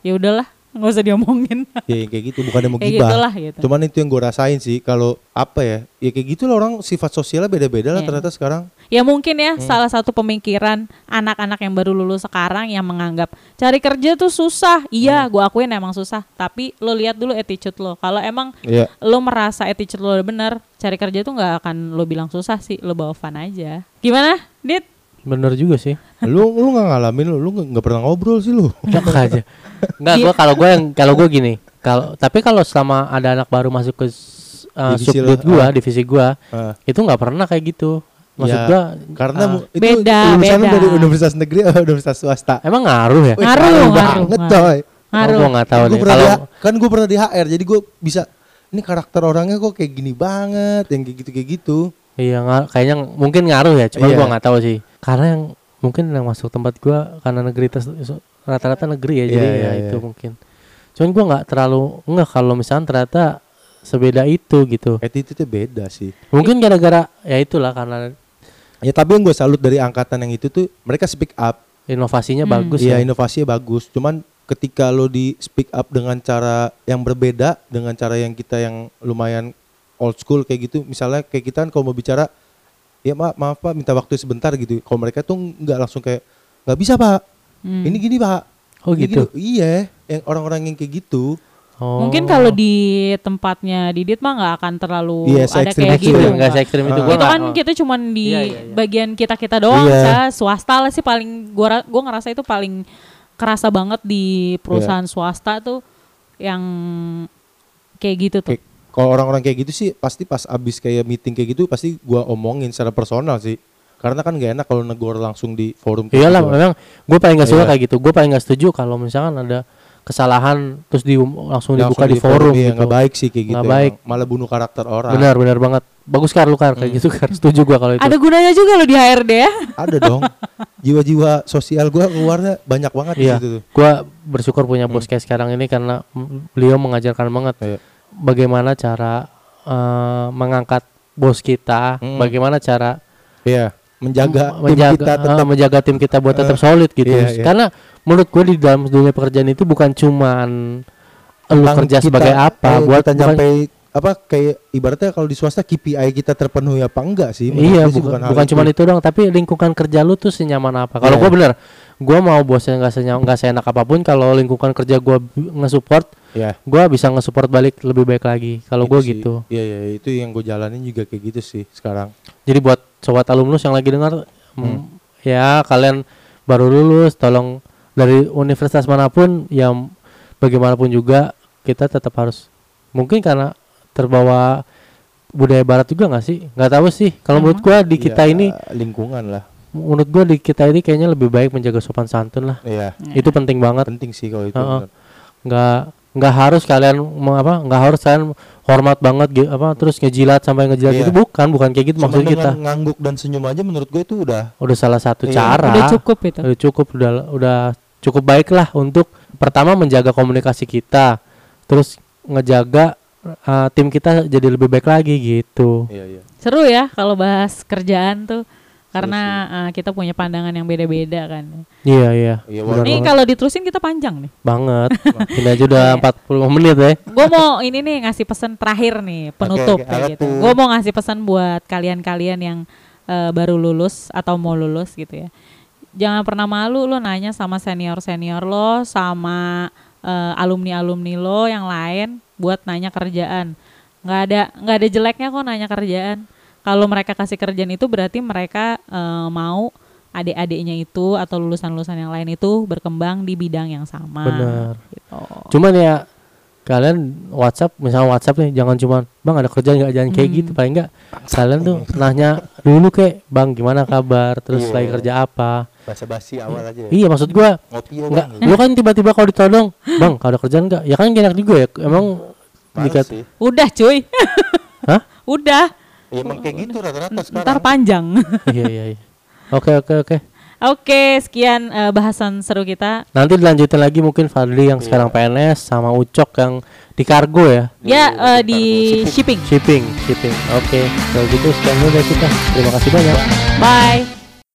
Speaker 3: Ya udahlah, nggak usah diomongin
Speaker 2: ya yang kayak gitu bukan yang mau
Speaker 3: kayak
Speaker 2: gibah
Speaker 3: gitulah gitu
Speaker 2: cuman itu yang gue rasain sih kalau apa ya ya kayak gitu lah orang sifat sosialnya beda-beda lah
Speaker 3: Iya.
Speaker 2: ternyata sekarang
Speaker 3: ya mungkin ya
Speaker 2: Hmm.
Speaker 3: salah satu pemikiran anak-anak yang baru lulus sekarang yang menganggap cari kerja tuh susah iya
Speaker 2: Hmm.
Speaker 3: gua akuin emang susah tapi lo lihat dulu attitude lo kalau emang
Speaker 1: Iya.
Speaker 2: ya
Speaker 3: lo merasa attitude lo udah bener cari kerja tuh nggak akan lo bilang susah sih lo bawa fun aja gimana dit
Speaker 1: Bener juga sih.
Speaker 2: lu lu nggak ngalamin lu lu nggak- nggak pernah ngobrol sih lu
Speaker 1: Enak aja. Enggak,
Speaker 2: Iya.
Speaker 1: gua kalau gua yang kalau gua gini, kalau tapi kalau selama ada anak baru masuk ke s- uh,
Speaker 2: Divisi
Speaker 1: subdit
Speaker 2: lo,
Speaker 1: gua, divisi gua,
Speaker 2: Ah,
Speaker 1: itu nggak pernah kayak gitu. Maksud
Speaker 2: Ya,
Speaker 1: gua
Speaker 2: karena
Speaker 1: ah,
Speaker 2: mu- itu
Speaker 3: Beda,
Speaker 2: urusan lu
Speaker 3: beda.
Speaker 2: dari universitas negeri atau universitas swasta
Speaker 1: emang ngaruh ya?
Speaker 2: Wih,
Speaker 3: Ngaruh, ngaruh,
Speaker 2: banget
Speaker 3: ngaruh.
Speaker 2: coy
Speaker 1: Oh, gua
Speaker 3: ngaruh
Speaker 1: nggak tahu
Speaker 2: Gua
Speaker 1: nih.
Speaker 2: pernah
Speaker 1: Kalau
Speaker 2: di- kan gue pernah di HR jadi gue bisa ini karakter orangnya kok kayak gini banget yang kayak gitu kayak gitu
Speaker 1: iya nga- kayaknya ng- mungkin ngaruh ya, cuma
Speaker 2: Iya.
Speaker 1: gua nggak tahu sih. Karena yang mungkin yang masuk tempat gua karena negeri tes- so- rata-rata negeri ya,
Speaker 2: Iya,
Speaker 1: jadi
Speaker 2: iya,
Speaker 1: ya
Speaker 2: iya.
Speaker 1: itu mungkin. Cuman gua nggak terlalu enggak kalau misalnya ternyata sebeda itu gitu.
Speaker 2: attitude-nya beda sih
Speaker 1: Mungkin gara-gara ya itulah karena
Speaker 2: ya tapi yang gue salut dari angkatan yang itu tuh mereka speak up
Speaker 1: inovasinya
Speaker 3: Hmm.
Speaker 1: bagus
Speaker 2: Iya
Speaker 1: ya.
Speaker 2: inovasinya bagus. Cuman ketika lo di speak up dengan cara yang berbeda dengan cara yang kita yang lumayan old school kayak gitu. Misalnya kayak kita kan kalau mau bicara, ya maaf maaf pak minta waktu sebentar gitu. Kalau mereka tuh nggak langsung kayak nggak bisa pak.
Speaker 3: Hmm.
Speaker 2: Ini gini pak.
Speaker 1: Oh
Speaker 2: Ini
Speaker 1: gitu.
Speaker 2: gini." Iya. Yang orang-orang yang kayak gitu.
Speaker 1: Oh.
Speaker 3: mungkin kalau di tempatnya Didit mah nggak akan terlalu
Speaker 2: Iya,
Speaker 3: ada
Speaker 2: se-ekstrim
Speaker 3: kayak
Speaker 2: itu ya,
Speaker 3: gitu
Speaker 1: ekstrim
Speaker 3: nggak.
Speaker 1: nggak se ekstrim itu
Speaker 2: Ah.
Speaker 1: gua
Speaker 3: itu
Speaker 1: nggak-
Speaker 3: kan
Speaker 1: oh.
Speaker 3: kita cuman di
Speaker 1: Iya, iya, iya.
Speaker 3: bagian kita kita doang
Speaker 2: Iya.
Speaker 3: Sa. swasta lah sih paling gua ra- gua ngerasa itu paling kerasa banget di perusahaan
Speaker 2: Iya.
Speaker 3: swasta tuh yang kayak gitu tuh
Speaker 2: Kayak kalau orang-orang kayak gitu sih pasti pas abis kayak meeting kayak gitu pasti gua omongin secara personal sih. Karena kan gak enak kalau negor langsung di forum. kayak
Speaker 1: Oh. Iyalah
Speaker 2: gitu.
Speaker 1: memang gue paling gak suka
Speaker 2: Iya.
Speaker 1: kayak gitu. Gue paling gak setuju kalau misalkan ada kesalahan terus di langsung, dibuka di
Speaker 2: Langsung
Speaker 1: forum,
Speaker 2: ya,
Speaker 1: gitu.
Speaker 2: nggak baik sih kayak gitu.
Speaker 1: Nggak
Speaker 2: emang.
Speaker 1: baik.
Speaker 2: Malah bunuh karakter orang.
Speaker 1: Benar benar banget. Bagus kar lu kar
Speaker 2: Hmm.
Speaker 1: kayak gitu kar. Setuju gue kalau itu.
Speaker 3: ada gunanya juga loh di HRD ya
Speaker 2: Ada dong. Jiwa-jiwa sosial gua keluarnya banyak banget
Speaker 1: Iya.
Speaker 2: di situ tuh.
Speaker 1: Gue bersyukur punya bos kayak sekarang ini karena mm, beliau mengajarkan banget
Speaker 2: Hmm. Iya.
Speaker 1: bagaimana cara eh, mengangkat bos kita,
Speaker 2: Mm.
Speaker 1: bagaimana cara
Speaker 2: Iya. Menjaga
Speaker 1: m-
Speaker 2: tim
Speaker 1: menjaga
Speaker 2: kita
Speaker 1: eh,
Speaker 2: tetap
Speaker 1: menjaga tim kita buat tetap
Speaker 2: Eh,
Speaker 1: solid gitu.
Speaker 2: iya, iya.
Speaker 1: Karena menurut gue di dalam dunia pekerjaan itu bukan cuman lu
Speaker 2: tentang
Speaker 1: kerja
Speaker 2: kita,
Speaker 1: sebagai apa,
Speaker 2: eh,
Speaker 1: buat
Speaker 2: kita
Speaker 1: bukan-
Speaker 2: nyampe apa kayak ibaratnya kalau di swasta KPI kita terpenuhi apa enggak sih? Menurut
Speaker 1: Iya,
Speaker 2: gua sih
Speaker 1: bukan,
Speaker 2: hal ya?
Speaker 1: bukan cuma itu doang, tapi lingkungan kerja lu tuh senyaman apa. Kalau
Speaker 2: Iya.
Speaker 1: gua bener, gua mau bosnya nggak senyaman, nggak seenak apapun. Kalau lingkungan kerja gua bi- nge-support,
Speaker 2: Iya.
Speaker 1: gua bisa nge-support balik lebih baik lagi. Kalau
Speaker 2: itu
Speaker 1: gua
Speaker 2: sih.
Speaker 1: gitu.
Speaker 2: Iya, iya, itu yang gue jalanin juga kayak gitu sih sekarang.
Speaker 1: Jadi buat sobat alumnus yang lagi dengar,
Speaker 2: Hmm.
Speaker 1: mm, ya kalian baru lulus, tolong dari universitas manapun, ya m- bagaimanapun juga kita tetap harus. Mungkin karena terbawa budaya barat juga nggak sih? Nggak tahu sih. Kalau menurut gua di kita
Speaker 2: Ya,
Speaker 1: ini
Speaker 2: lingkungan lah.
Speaker 1: menurut gua di kita ini kayaknya lebih baik menjaga sopan santun lah
Speaker 2: Iya.
Speaker 1: itu penting banget
Speaker 2: Penting sih kalau itu.
Speaker 1: Heeh.
Speaker 2: benar.
Speaker 1: nggak nggak harus kalian mau apa nggak harus kalian hormat banget gi- apa terus ngejilat sampai ngejilat
Speaker 2: Iya.
Speaker 1: itu bukan bukan kayak gitu
Speaker 2: Cuma
Speaker 1: maksud kita
Speaker 2: dengan ngangguk dan senyum aja menurut gue itu udah
Speaker 1: udah salah satu
Speaker 2: Iya.
Speaker 1: cara
Speaker 3: udah cukup itu
Speaker 1: udah cukup udah udah cukup baik lah untuk pertama menjaga komunikasi kita terus ngejaga eh, tim kita jadi lebih baik lagi gitu
Speaker 2: Iya, iya.
Speaker 3: seru ya kalau bahas kerjaan tuh karena eh, kita punya pandangan yang beda-beda kan
Speaker 1: iya iya
Speaker 2: Iya,
Speaker 1: benar
Speaker 3: ini kalau diterusin kita panjang nih
Speaker 1: banget ini aja udah 45 menit ya
Speaker 3: gue mau ini nih ngasih pesan terakhir nih penutup
Speaker 2: oke,
Speaker 3: kayak
Speaker 2: apa
Speaker 3: gitu.
Speaker 2: tuh?
Speaker 3: Gue mau ngasih pesan buat kalian-kalian yang eh, baru lulus atau mau lulus gitu ya. Jangan pernah malu lo nanya sama senior-senior lo, sama eh, alumni-alumni lo yang lain buat nanya kerjaan. Nggak ada nggak ada jeleknya kok nanya kerjaan. Kalau mereka kasih kerjaan itu berarti mereka eh, mau adik-adiknya itu atau lulusan-lulusan yang lain itu berkembang di bidang yang sama.
Speaker 1: Benar.
Speaker 3: Gitu.
Speaker 1: Cuman ya kalian WhatsApp misalnya WhatsApp nih jangan cuman bang ada kerjaan nggak jangan kayak gitu paling nggak kalian tuh nanya dulu kek bang gimana kabar terus
Speaker 2: Iya.
Speaker 1: lagi kerja apa
Speaker 2: Bahasa basi awal aja. ya?
Speaker 1: iya maksud gua
Speaker 2: Ngopi ya, Iya.
Speaker 1: nggak lu kan tiba-tiba kalau ditodong bang kalau ada kerjaan nggak ya kan enak juga ya emang jika
Speaker 3: Udah cuy.
Speaker 1: Hah?
Speaker 3: Udah.
Speaker 2: emang kayak gitu rata-rata
Speaker 3: Ntar panjang.
Speaker 1: iya iya iya oke oke oke
Speaker 3: Oke, sekian eh, bahasan seru kita.
Speaker 1: nanti dilanjutin lagi mungkin Fadli yang sekarang PNS sama Ucok yang di kargo ya
Speaker 3: Ya eh, di shipping.
Speaker 1: shipping shipping oke kalau gitu sekian dulu dari kita terima kasih banyak
Speaker 3: Bye.